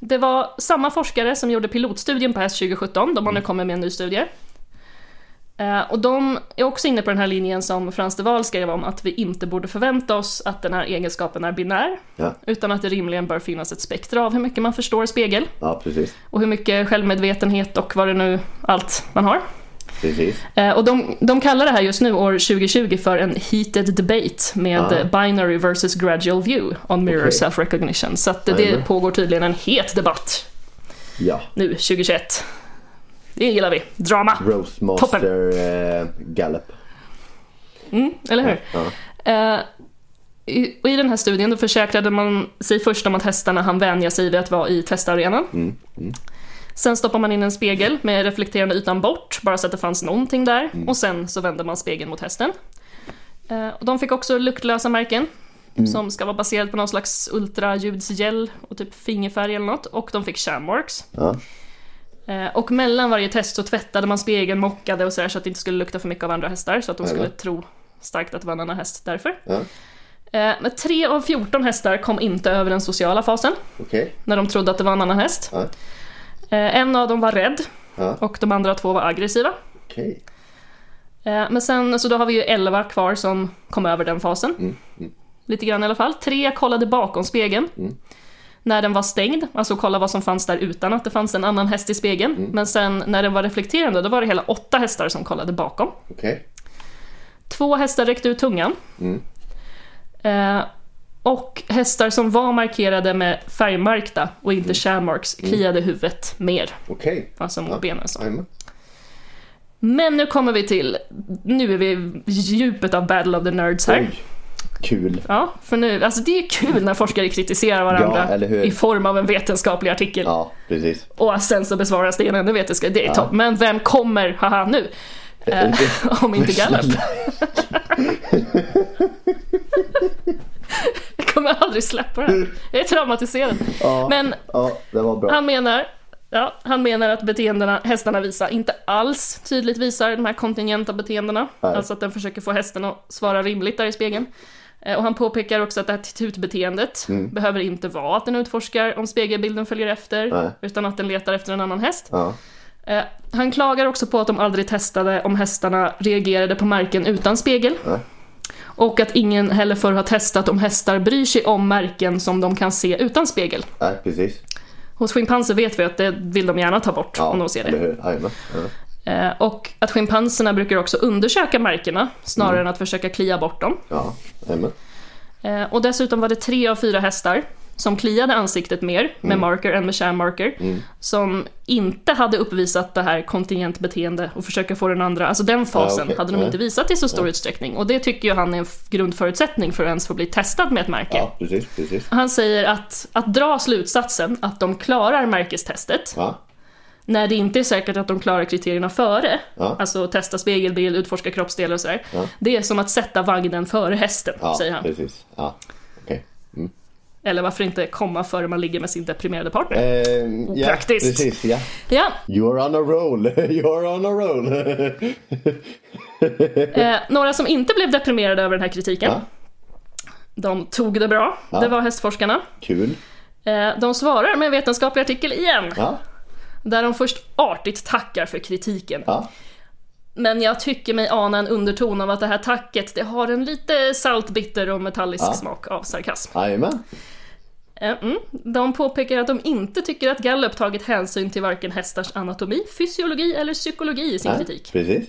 S1: Det var samma forskare som gjorde pilotstudien på häst 2017, de har
S2: Mm.
S1: nu kommit med en ny studie. Eh, Och de är också inne på den här linjen som Frans de Waal skrev om, att vi inte borde förvänta oss att den här egenskapen är binär,
S2: Ja,
S1: utan att det rimligen bör finnas ett spektra av hur mycket man förstår spegel,
S2: ja precis.
S1: och hur mycket självmedvetenhet och vad det nu, allt man har.
S2: precis.
S1: Eh, Och de, de kallar det här just nu, år 2020, för en heated debate med
S2: Ah.
S1: eh, binary versus gradual view on mirror
S2: Okej.
S1: self-recognition. Så att det,
S2: Jajamän.
S1: det pågår tydligen en het debatt
S2: Ja.
S1: nu, 2021. Det gillar vi. Drama,
S2: Roastmaster eh, Gallup.
S1: Mm, eller hur?
S2: Ja.
S1: Eh, i, och I den här studien då försäkrade man sig först om att hästarna hann vänja sig vid att vara i testarenan. Sen stoppar man in en spegel med reflekterande ytan bort, bara så att det fanns någonting där. Och sen så vänder man spegeln mot hästen. Eh, och de fick också luktlösa märken, som ska vara baserad på någon slags ultraljudsgel och typ fingerfärg eller något. Och de fick shamworks.
S2: Ja.
S1: Eh, Och mellan varje test så tvättade man spegeln, mockade och sådär så att det inte skulle lukta för mycket av andra hästar så att de
S2: Jajamän.
S1: skulle tro starkt att det var en annan häst därför.
S2: Ja.
S1: Eh, Men 3 av 14 hästar kom inte över den sociala fasen
S2: Okej.
S1: när de trodde att det var en annan häst.
S2: Ja.
S1: Eh, En av dem var rädd
S2: Ja.
S1: och de andra två var aggressiva.
S2: Okej.
S1: Eh, Men sen, så då har vi ju 11 kvar som kom över den fasen. Lite grann i alla fall. Tre kollade bakom spegeln. När den var stängd, alltså kolla vad som fanns där utan att det fanns en annan häst i spegeln. Men sen när den var reflekterande, då var det hela åtta hästar som kollade bakom.
S2: Okej.
S1: Två hästar räckte ut tungan. Eh, och hästar som var markerade med färgmärkta och inte shärmarks kliade huvudet mer,
S2: Okej.
S1: alltså mot benen. Så.
S2: Jajamän.
S1: Men nu kommer vi till, nu är vi i djupet av Battle of the Nerds här.
S2: Oj. Kul.
S1: Ja, för nu, alltså det är kul när forskare kritiserar
S2: Ja,
S1: varandra
S2: eller hur?
S1: i form av en vetenskaplig artikel.
S2: Ja, precis.
S1: Och sen så besvaras det ena vetenskap. Det är topp. Men vem kommer, haha, nu? Eh, om inte Gallup. Jag kommer aldrig släppa det här. Jag är traumatiserad.
S2: Ja.
S1: Men
S2: Ja, det var bra.
S1: han menar, ja, han menar att beteendena hästarna visar inte alls tydligt visar de här kontingenta beteendena.
S2: Nej.
S1: Alltså att den försöker få hästen att svara rimligt där i spegeln. Eh, Och han påpekar också att det här attitydbeteendet
S2: Mm.
S1: behöver inte vara att den utforskar om spegelbilden följer efter,
S2: Nej.
S1: utan att den letar efter en annan häst.
S2: Ja.
S1: Eh, Han klagar också på att de aldrig testade om hästarna reagerade på märken utan spegel.
S2: Nej.
S1: Och att ingen heller förr har testat om hästar bryr sig om märken som de kan se utan spegel.
S2: Nej, precis.
S1: Hos schimpanser vet vi att det vill de gärna ta bort
S2: Ja,
S1: om de ser
S2: eller
S1: det.
S2: hur? Jajamän. Ja.
S1: Eh, Och att schimpanserna brukar också undersöka märkena snarare
S2: Mm.
S1: än att försöka klia bort dem.
S2: Ja, jajamän.
S1: Eh, Och dessutom var det tre av fyra hästar som kliade ansiktet mer med
S2: Mm.
S1: marker än med kärnmarker som inte hade uppvisat det här kontingentbeteende och försöka få den andra, alltså den fasen
S2: okej.
S1: hade de
S2: Ja.
S1: inte visat i så stor utsträckning och det tycker ju han är en f- grundförutsättning för att ens få bli testad med ett märke.
S2: Ja, precis, precis.
S1: Han säger att, att dra slutsatsen att de klarar märkestestet
S2: Ja.
S1: när det inte är säkert att de klarar kriterierna före,
S2: Ja.
S1: alltså testa spegelbild, utforska kroppsdelar och sådär, det är som att sätta vagnen före hästen,
S2: Ja,
S1: säger han.
S2: precis. Ja. Okej. Mm.
S1: Eller varför inte komma före man ligger med sin deprimerade partner?
S2: Eh, ja,
S1: Opraktiskt.
S2: Precis, ja.
S1: Ja,
S2: You're on a roll, you're on a roll.
S1: eh, några som inte blev deprimerade över den här kritiken,
S2: Ja.
S1: de tog det bra, det var hästforskarna.
S2: Kul.
S1: Eh, de svarar med en vetenskaplig artikel igen,
S2: Ja,
S1: där de först artigt tackar för kritiken.
S2: ja.
S1: Men jag tycker mig ana en underton av att det här tacket, det har en lite saltbitter och metallisk
S2: Ja.
S1: smak av sarkasm.
S2: Jajamän.
S1: Eh, Mm. De påpekar att de inte tycker att Gallup tagit hänsyn till varken hästars anatomi, fysiologi eller psykologi i sin
S2: Ja,
S1: kritik.
S2: Precis.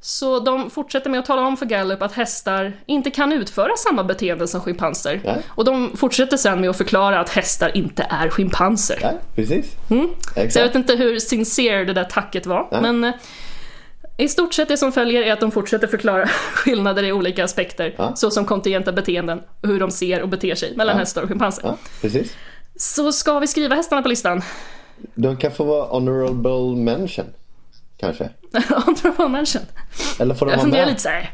S1: Så de fortsätter med att tala om för Gallup att hästar inte kan utföra samma beteenden som schimpanser.
S2: Nej.
S1: Och de fortsätter sen med att förklara att hästar inte är schimpanser.
S2: Ja, precis.
S1: Mm. Så jag vet
S2: Exakt.
S1: inte hur sincere det där tacket var, men eh, i stort sett det som följer är att de fortsätter förklara skillnader i olika aspekter,
S2: Ja.
S1: såsom kontingenta beteenden, och hur de ser och beter sig mellan hästar och schimpanser.
S2: Ja, precis.
S1: Så ska vi skriva hästarna på listan?
S2: De kan få vara honorable mention. Kanske.
S1: Honorable mention.
S2: Eller får de
S1: Jag
S2: vara
S1: funderar
S2: med?
S1: lite såhär,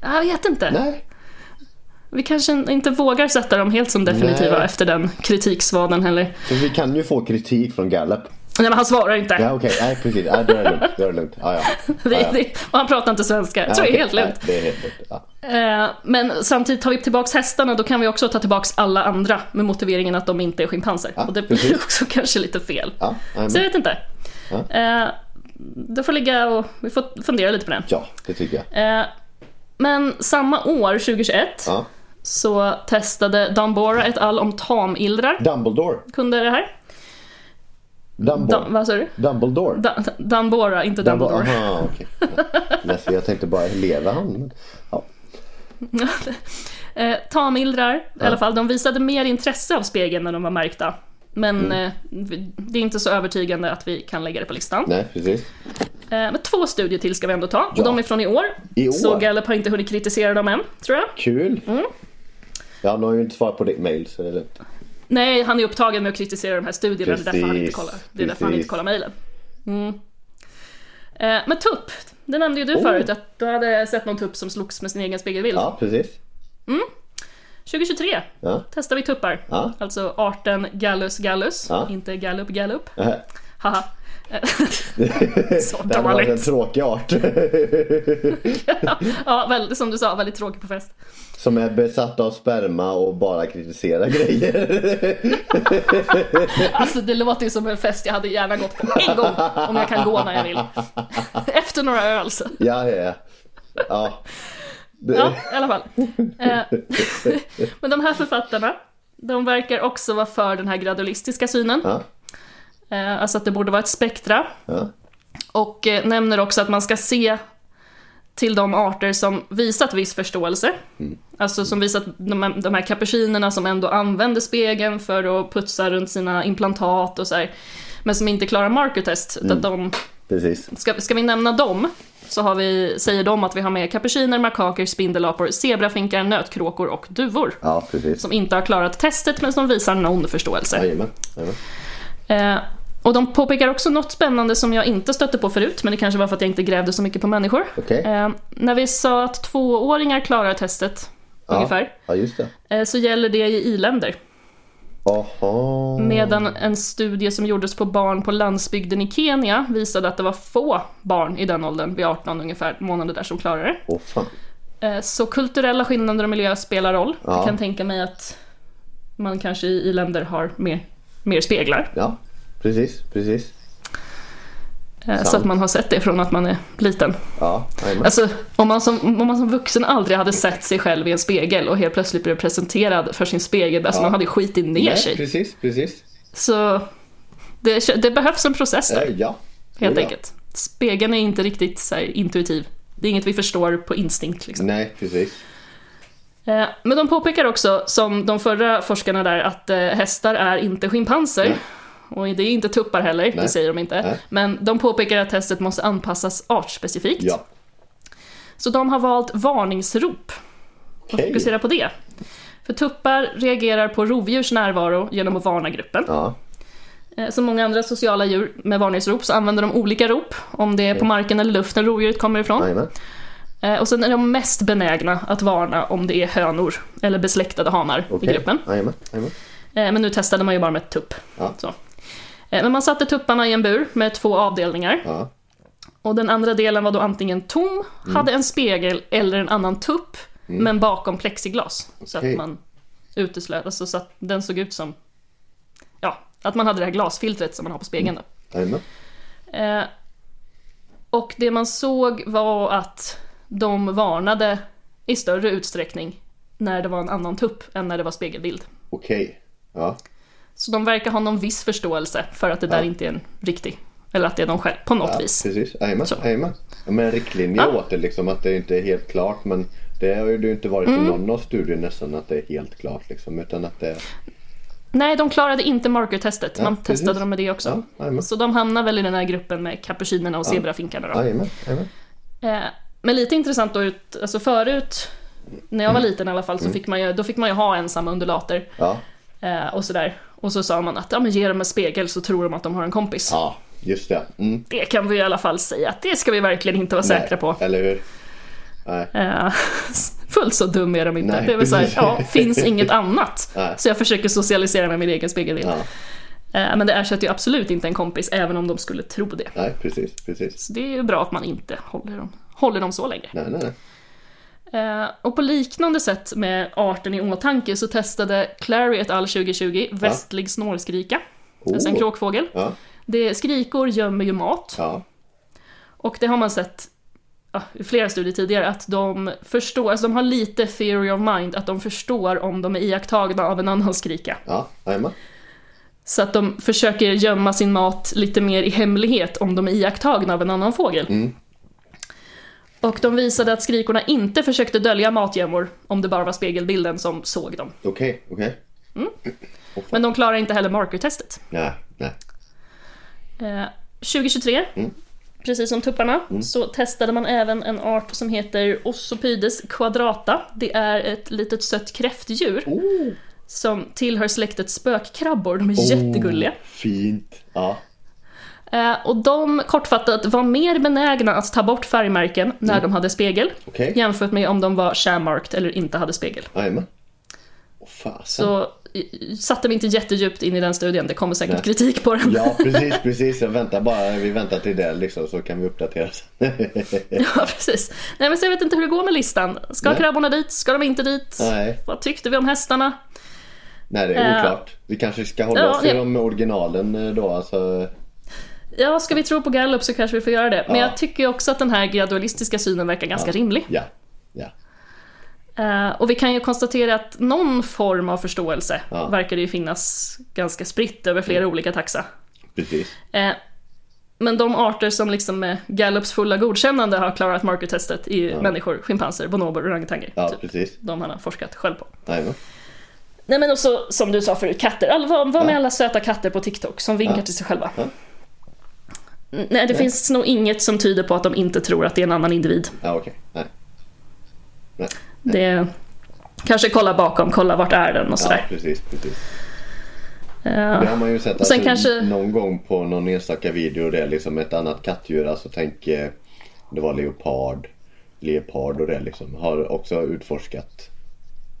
S1: jag vet inte.
S2: Nej.
S1: Vi kanske inte vågar sätta dem helt som definitiva
S2: Nej.
S1: efter den kritiksvaden heller.
S2: För vi kan ju få kritik från Gallup.
S1: Nej men han svarar inte.
S2: Ja, okej. Nej, precis. Ja, då är det lugnt. Då är det lugnt. Ja, ja.
S1: Vi- det- och han pratar inte svenska. Jag
S2: Ja,
S1: tror det är
S2: okej.
S1: helt lugnt.
S2: Nej, Det är helt lugnt. Ja.
S1: Eh, Men samtidigt tar vi tillbaks hästarna, då kan vi också ta tillbaks alla andra med motiveringen att de inte är schimpanser. och det blir
S2: precis.
S1: också kanske lite fel.
S2: Ja, jajamän.
S1: Så jag vet inte.
S2: Ja.
S1: Eh, Det får ligga och vi får fundera lite på det.
S2: ja, det tycker jag.
S1: Eh, Men samma år, 2021,
S2: Ja.
S1: så testade Dambora et al. om tamillrar.
S2: Dumbledore.
S1: Kunde det här?
S2: Dumbledore.
S1: Da, vad sa du?
S2: Dumbledore.
S1: Da, Dambora, inte Dumbledore.
S2: Dumbledore. Aha, okej. Ja. Ledsen, jag tänkte bara, lever han? Men, Ja.
S1: Eh, tamillrar, i alla fall, de visade mer intresse av spegeln när de var märkta. Men
S2: Mm.
S1: eh, vi- det är inte så övertygande att vi kan lägga det på listan. Eh,
S2: Nej, precis.
S1: men två studier till ska vi ändå ta,
S2: Ja.
S1: och de är från i år.
S2: I år?
S1: Så Gallup har inte hunnit kritisera dem än, tror jag.
S2: Kul. Ja, nu har ju inte svarat på ditt mail så det är lugnt.
S1: Nej, han är upptagen med att kritisera de här studierna, det är därför han inte
S2: Precis,
S1: kollar, det är därför han
S2: precis.
S1: inte kollar mejlen. Mm. Eh, men tupp, det nämnde ju du förut, att du hade sett någon tupp som slogs med sin egen spegelbild.
S2: Oh. Ja, precis.
S1: 2023
S2: Ja.
S1: testar vi tuppar.
S2: Ja.
S1: Alltså arten Gallus gallus,
S2: Ja.
S1: inte Gallup gallup.
S2: Äh,
S1: Haha. Så
S2: Det hade varit en
S1: dåligt.
S2: tråkig art.
S1: Ja, väl, som du sa, väldigt tråkig på fest.
S2: Som är besatt av sperma och bara kritiserar grejer.
S1: Alltså det låter ju som en fest jag hade gärna gått på en gång om jag kan gå när jag vill. Efter några öl så.
S2: Ja, ja. ja. Det-
S1: Ja, i alla fall. Eh, Men de här författarna, de verkar också vara för den här gradualistiska synen.
S2: Ja.
S1: Eh, Alltså att det borde vara ett spektra.
S2: Ja.
S1: Och eh, nämner också att man ska se till de arter som visat viss förståelse.
S2: Mm.
S1: Alltså som visat de, här- de här kapucinerna som ändå använder spegeln för att putsa runt sina implantat och så här. Men som inte klarar markertest.
S2: Mm.
S1: Utan de,
S2: Precis.
S1: ska, ska vi nämna dem så har vi, säger de att vi har med kapuciner, makaker, spindelapor, zebrafinkar, nötkråkor och duvor.
S2: Ja, precis.
S1: Som inte har klarat testet men som visar någon förståelse.
S2: Jajamän. jajamän.
S1: Eh, och de påpekar också något spännande som jag inte stötte på förut, men det kanske var för att jag inte grävde så mycket på människor.
S2: Okej.
S1: Eh, när vi sa att tvååringar klarar testet,
S2: Ja.
S1: ungefär,
S2: Ja, just det.
S1: eh, så gäller det i i-länder.
S2: Aha.
S1: Medan en studie som gjordes på barn på landsbygden i Kenya visade att det var få barn i den åldern, vid 18 ungefär, månader där, som klarar det.
S2: Åh fan.
S1: Eh, så kulturella skillnader och miljö spelar roll.
S2: Ja.
S1: Jag kan tänka mig att man kanske i i-länder har mer, mer speglar.
S2: Ja, precis. Precis.
S1: Eh, så
S2: Sant.
S1: att man har sett det från att man är liten.
S2: Ja, jajamän.
S1: Alltså, om man, som, om man som vuxen aldrig hade sett sig själv i en spegel och helt plötsligt blev presenterad för sin spegel, alltså man hade skitit ner
S2: Nej,
S1: sig.
S2: precis, precis.
S1: Så det, det behövs en process där,
S2: Äh, ja.
S1: helt
S2: Jo, ja.
S1: enkelt. Spegeln är inte riktigt så här, intuitiv. Det är inget vi förstår på instinkt. Liksom.
S2: Nej, precis.
S1: Eh, Men de påpekar också, som de förra forskarna där, att eh, hästar är inte schimpanser. Och det är inte tuppar heller, det
S2: Nej.
S1: säger de inte.
S2: Nej.
S1: Men de påpekar att testet måste anpassas artspecifikt.
S2: Ja.
S1: Så de har valt varningsrop och
S2: Okej.
S1: fokusera på det. För tuppar reagerar på rovdjurs närvaro genom att varna gruppen.
S2: Ja.
S1: Eh, Som många andra sociala djur med varningsrop så använder de olika rop om det är på marken eller luften rovdjuret kommer ifrån.
S2: Jajamän.
S1: Eh, Och sen är de mest benägna att varna om det är hönor eller besläktade hanar i
S2: Okej.
S1: gruppen.
S2: Jajamän. Jajamän.
S1: Eh, Men nu testade man ju bara med tupp.
S2: Ja.
S1: Så. Eh, Men man satte tupparna i en bur med två avdelningar.
S2: Ja.
S1: Och den andra delen var då antingen tom,
S2: Mm.
S1: hade en spegel eller en annan tupp, men bakom plexiglas. Så
S2: Okej.
S1: att man uteslöt, alltså så att den såg ut som, ja, att man hade det här glasfiltret som man har på spegeln då.
S2: Jajamän. Mm.
S1: Eh, och det man såg var att de varnade i större utsträckning när det var en annan tupp än när det var spegelbild.
S2: Okej. Ja.
S1: Så de verkar ha någon viss förståelse för att det där
S2: Ja.
S1: inte är en riktig, eller att det är de själv på något
S2: Ja,
S1: vis.
S2: precis. Jajamän.
S1: Så.
S2: Jajamän. Ja, Men en riktlinje
S1: Ja.
S2: åt det liksom att det inte är helt klart. Men det har ju det inte varit i
S1: Mm.
S2: någon av studien nästan att det är helt klart liksom. Utan att det...
S1: Nej, de klarade inte markertestet. Man
S2: precis.
S1: testade dem med det också.
S2: Ja, jajamän.
S1: så de hamnar väl i den här gruppen med kapucinerna och zebrafinkarna. Då.
S2: Jajamän. Jajamän.
S1: Eh, Men lite intressant då, ut- alltså förut, när jag var
S2: Mm.
S1: liten i alla fall, så fick man ju, då fick man ju ha ensamma undulater
S2: Ja.
S1: eh, och sådär. Och så sa man att ja, men ge dem en spegel så tror de att de har en kompis.
S2: Ja. Just det. Mm.
S1: Det kan vi i alla fall säga att det ska vi verkligen inte vara säkra
S2: Nej.
S1: på.
S2: Eller hur? Nej.
S1: Eh, Fullt så dum är de inte.
S2: Nej,
S1: det är väl såhär,
S2: precis.
S1: ja, finns inget annat.
S2: Nej.
S1: Så jag försöker socialisera med min egen spegelbild.
S2: Ja.
S1: Eh, Men det ersätter ju absolut inte en kompis, även om de skulle tro det.
S2: Nej, precis. Precis.
S1: Så det är ju bra att man inte håller dem, håller dem så länge.
S2: Nej, nej, nej.
S1: Eh, och på liknande sätt med arten i åtanke så testade Clary et al 2020 västlig snårskrika. Alltså en
S2: Oh.
S1: kråkfågel.
S2: Ja.
S1: Det, skrikor gömmer ju mat.
S2: Ja.
S1: Och det har man sett ja, i flera studier tidigare, att de förstår, alltså de har lite theory of mind, att de förstår om de är iakttagna av en annan skrika.
S2: Ja. Jajamän.
S1: Så att de försöker gömma sin mat lite mer i hemlighet om de är iakttagna av en annan fågel. Och de visade att skrikorna inte försökte dölja matgömmor om det bara var spegelbilden som såg dem.
S2: Okej. Okej.
S1: Men de klarar inte heller markertestet.
S2: Nej. Nej.
S1: Eh, 2023,
S2: Mm.
S1: precis som tupparna, så testade man även en art som heter Ossopydes quadrata. Det är ett litet sött kräftdjur
S2: Oh.
S1: som tillhör släktet spökkrabbor. De är jättegulliga.
S2: Fint. Ja.
S1: Eh, Och de, kortfattat, var mer benägna att ta bort färgmärken när de hade spegel
S2: Mm. Okej.
S1: jämfört med om de var sham-marked eller inte hade spegel.
S2: Jajamän. Åh fasen.
S1: Så satte mig inte jättedjupt in i den studien, det kommer säkert
S2: Nej.
S1: kritik på den.
S2: Ja precis, precis. Jag väntar bara, vi väntar till det liksom så kan vi uppdatera sen.
S1: Ja, precis. Nej, men så jag vet inte hur det går med listan. Ska
S2: Nej.
S1: krabborna dit? Ska de inte dit?
S2: Nej.
S1: Vad tyckte vi om hästarna?
S2: Nej det är
S1: Eh.
S2: oklart. Vi kanske ska hålla
S1: Ja,
S2: oss till
S1: ja.
S2: de originalen eh, då alltså.
S1: Ja, ska vi tro på Gallup så kanske vi får göra det. Men
S2: Ja.
S1: jag tycker ju också att den här gradualistiska synen verkar ganska rimlig.
S2: Ja. Ja.
S1: Eh, och vi kan ju konstatera att någon form av förståelse
S2: Ja. Mm.
S1: verkar det ju finnas ganska spritt över flera olika taxa.
S2: Precis.
S1: Eh, men de arter som liksom med Gallups fulla godkännande har klarat markertestet är ju människor, schimpanser, bonober och orangutanger.
S2: Ja
S1: typ.
S2: precis.
S1: De han har forskat själv på.
S2: Nej, men.
S1: Nej men också som du sa förut, katter. All, vad vad med
S2: Ja.
S1: alla söta katter på TikTok som vinkar
S2: Ja.
S1: till sig själva?
S2: Ja.
S1: N- Nej, det finns nog inget som tyder på att de inte tror att det är en annan individ.
S2: Ja okej. Nej. Nej.
S1: Det... Kanske kolla bakom, kolla vart är den och
S2: Ja
S1: sådär.
S2: precis, precis.
S1: Eh,
S2: Det har man ju sett
S1: Sen
S2: alltså,
S1: kanske-
S2: någon gång på någon enstaka video det är liksom ett annat kattdjur. Alltså tänk eh, det var leopard, leopard och det liksom. Har också utforskat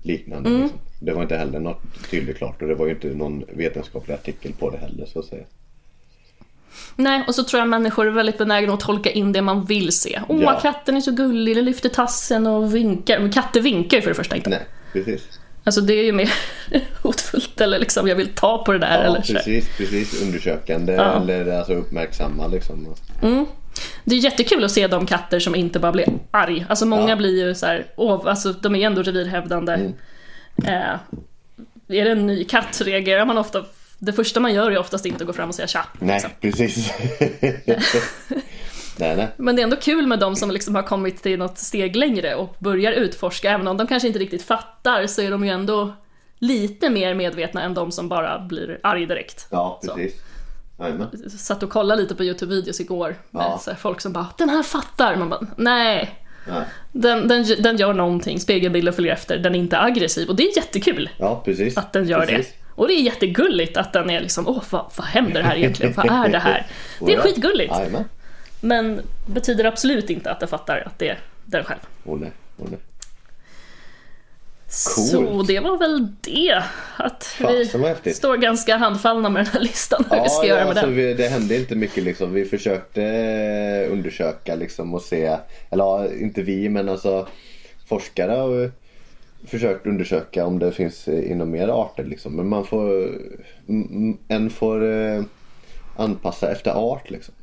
S2: liknande.
S1: Mm.
S2: Liksom. Det var inte heller något tydligt klart och det var ju inte någon vetenskaplig artikel på det heller så att säga.
S1: Nej, och så tror jag människor är väldigt benägna att tolka in det man vill se. Åh,
S2: Ja.
S1: katten är så gullig, den lyfter tassen och vinkar. Men katter vinkar ju för det första inte.
S2: Nej, precis.
S1: Alltså det är ju mer hotfullt eller liksom, jag vill ta på det där
S2: Ja,
S1: eller sådär.
S2: precis, precis. Undersökande eller alltså uppmärksamma liksom.
S1: Det är jättekul att se de katter som inte bara blir arg. Alltså många
S2: Ja. Mm.
S1: blir ju så här, åh, alltså de är ändå revirhävdande. Eh, är det en ny katt så reagerar man ofta, det första man gör är oftast inte att gå fram och säga tja.
S2: Nej,
S1: liksom.
S2: precis. nej, nej.
S1: Men det är ändå kul med de som liksom har kommit till något steg längre och börjar utforska, även om de kanske inte riktigt fattar så är de ju ändå lite mer medvetna än de som bara blir arg direkt.
S2: Ja,
S1: Så.
S2: precis. Jajamän.
S1: Satt och kollade lite på YouTube-videos igår med
S2: Ja.
S1: så här folk som bara “den här fattar”. Man bara “nej,
S2: Nej.
S1: Den, den, den gör någonting, spegelbilden följer efter, den är inte aggressiv och det är jättekul
S2: Ja, precis.
S1: att den gör
S2: precis.
S1: det. Och det är jättegulligt att den är liksom, åh vad, vad händer här egentligen, vad är det här? Det är
S2: Oja.
S1: skitgulligt,
S2: Jajamän.
S1: men betyder absolut inte att den fattar att det är den själv.
S2: Åh nej, åh nej.
S1: Så det var väl det, att
S2: Fasen, vad
S1: vi
S2: häftigt.
S1: står ganska handfallna med den här listan hur vi ska göra med
S2: alltså,
S1: den.
S2: vi, det hände inte mycket liksom. Vi försökte eh, undersöka liksom och se, eller ja, inte vi men alltså forskare har eh, försökt undersöka om det finns eh, inom mer arter liksom. Men man får, m- m- en får eh, anpassa efter art liksom.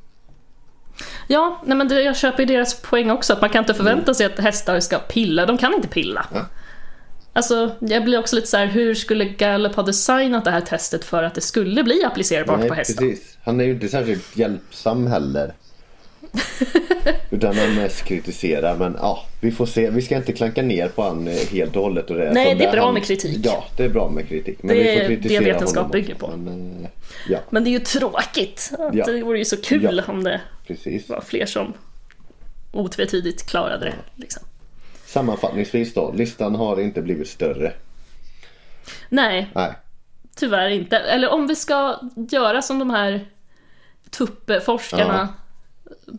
S1: Ja, nej men det, jag köper ju deras poäng också, att man kan inte förvänta sig att hästar ska pilla, de kan inte pilla.
S2: Mm. Ja.
S1: Alltså, jag blir också lite så här, hur skulle Gallup ha designat det här testet för att det skulle bli applicerbart
S2: Nej,
S1: på hästar?
S2: precis. Han är ju inte särskilt hjälpsam heller. Utan han mest kritiserar. Men ja, vi får se. Vi ska inte klanka ner på han eh, helt och hållet. Och det.
S1: Nej,
S2: Som
S1: det är bra
S2: han-
S1: med kritik.
S2: Ja, det är bra med kritik. Men
S1: Det
S2: vi
S1: är
S2: får
S1: det
S2: kritisera
S1: vetenskap
S2: honom också.
S1: bygger på.
S2: Men, eh, ja,
S1: Men det är ju tråkigt. att
S2: Ja.
S1: Det vore ju så kul
S2: Ja.
S1: om det
S2: precis.
S1: var fler som otvetydigt klarade det. Liksom.
S2: Sammanfattningsvis då. Listan har inte blivit större.
S1: Nej,
S2: Nej,
S1: tyvärr inte. Eller om vi ska göra som de här tuppeforskarna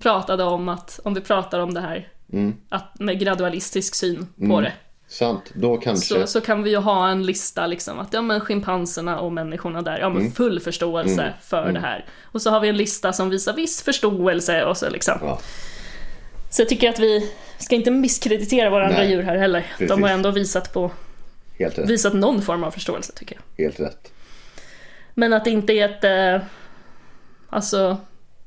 S1: pratade om, att om vi pratar om det här
S2: Mm.
S1: att, med gradualistisk syn på det.
S2: sant. Då kanske.
S1: så, så kan vi ju ha en lista liksom att ja men schimpanserna och människorna där, ja men
S2: Mm.
S1: full förståelse för det här. Och så har vi en lista som visar viss förståelse och så liksom.
S2: Ja,
S1: Så jag tycker att vi ska inte misskreditera våra andra
S2: Nej.
S1: djur här heller. De har
S2: Precis.
S1: ändå visat, på,
S2: helt rätt.
S1: visat någon form av förståelse tycker jag.
S2: Helt rätt.
S1: Men att det inte är ett, eh, alltså,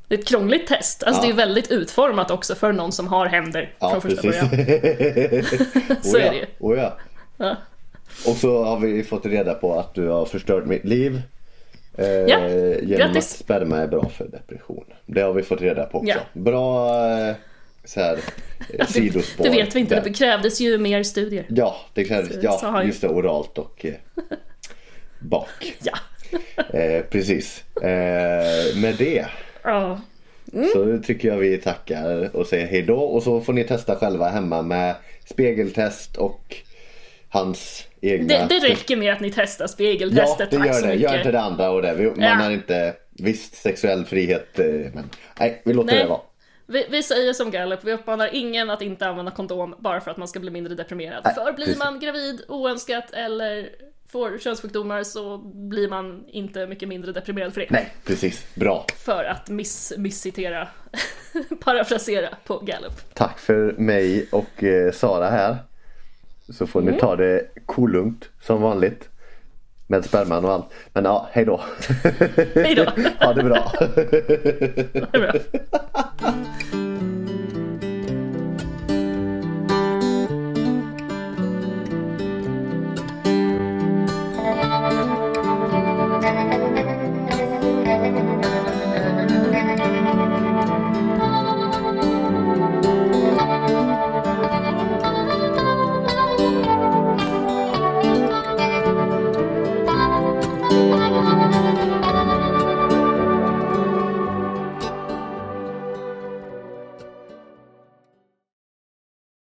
S1: det är ett krångligt test. Alltså
S2: Ja.
S1: det är väldigt utformat också för någon som har händer
S2: Ja,
S1: från första
S2: precis.
S1: början.
S2: Oh
S1: Så
S2: Åja,
S1: är det ju.
S2: åja. Och så har vi fått reda på att du har förstört mitt liv. Eh,
S1: Ja,
S2: genom
S1: grattis.
S2: att sperma är bra för depression. Det har vi fått reda på också.
S1: Ja.
S2: Bra eh, så här, eh, sidospår.
S1: Det vet vi inte,
S2: där.
S1: det krävdes ju mer studier.
S2: Ja, det krävs.
S1: Så
S2: Ja,
S1: har ju-
S2: just det. Oralt och eh, bak.
S1: Ja.
S2: Eh, precis. Eh, med det
S1: ja. Mm.
S2: så tycker jag vi tackar och säger hej då. Och så får ni testa själva hemma med spegeltest och hans egna...
S1: Det, det räcker med att ni testar
S2: Ja,
S1: spegeltestet.
S2: det
S1: tack
S2: gör
S1: så
S2: det.
S1: mycket.
S2: Gör inte det andra och det. Vi, man
S1: Ja.
S2: har inte visst sexuell frihet. eh, Men, nej, vi låter
S1: Nej.
S2: det vara.
S1: Vi, vi säger som Gallup, vi uppmanar ingen att inte använda kondom bara för att man ska bli mindre deprimerad. för blir
S2: precis.
S1: man gravid oönskat eller får könssjukdomar så blir man inte mycket mindre deprimerad för det.
S2: Nej, precis. Bra.
S1: För att miss, misscitera, parafrasera på Gallup.
S2: Tack för mig och eh, Sara här. Så får
S1: Mm.
S2: ni ta det kolugnt som vanligt. Med sperman och allt. Men ja, hej då.
S1: Hej då!
S2: ha det bra.
S1: Det är bra.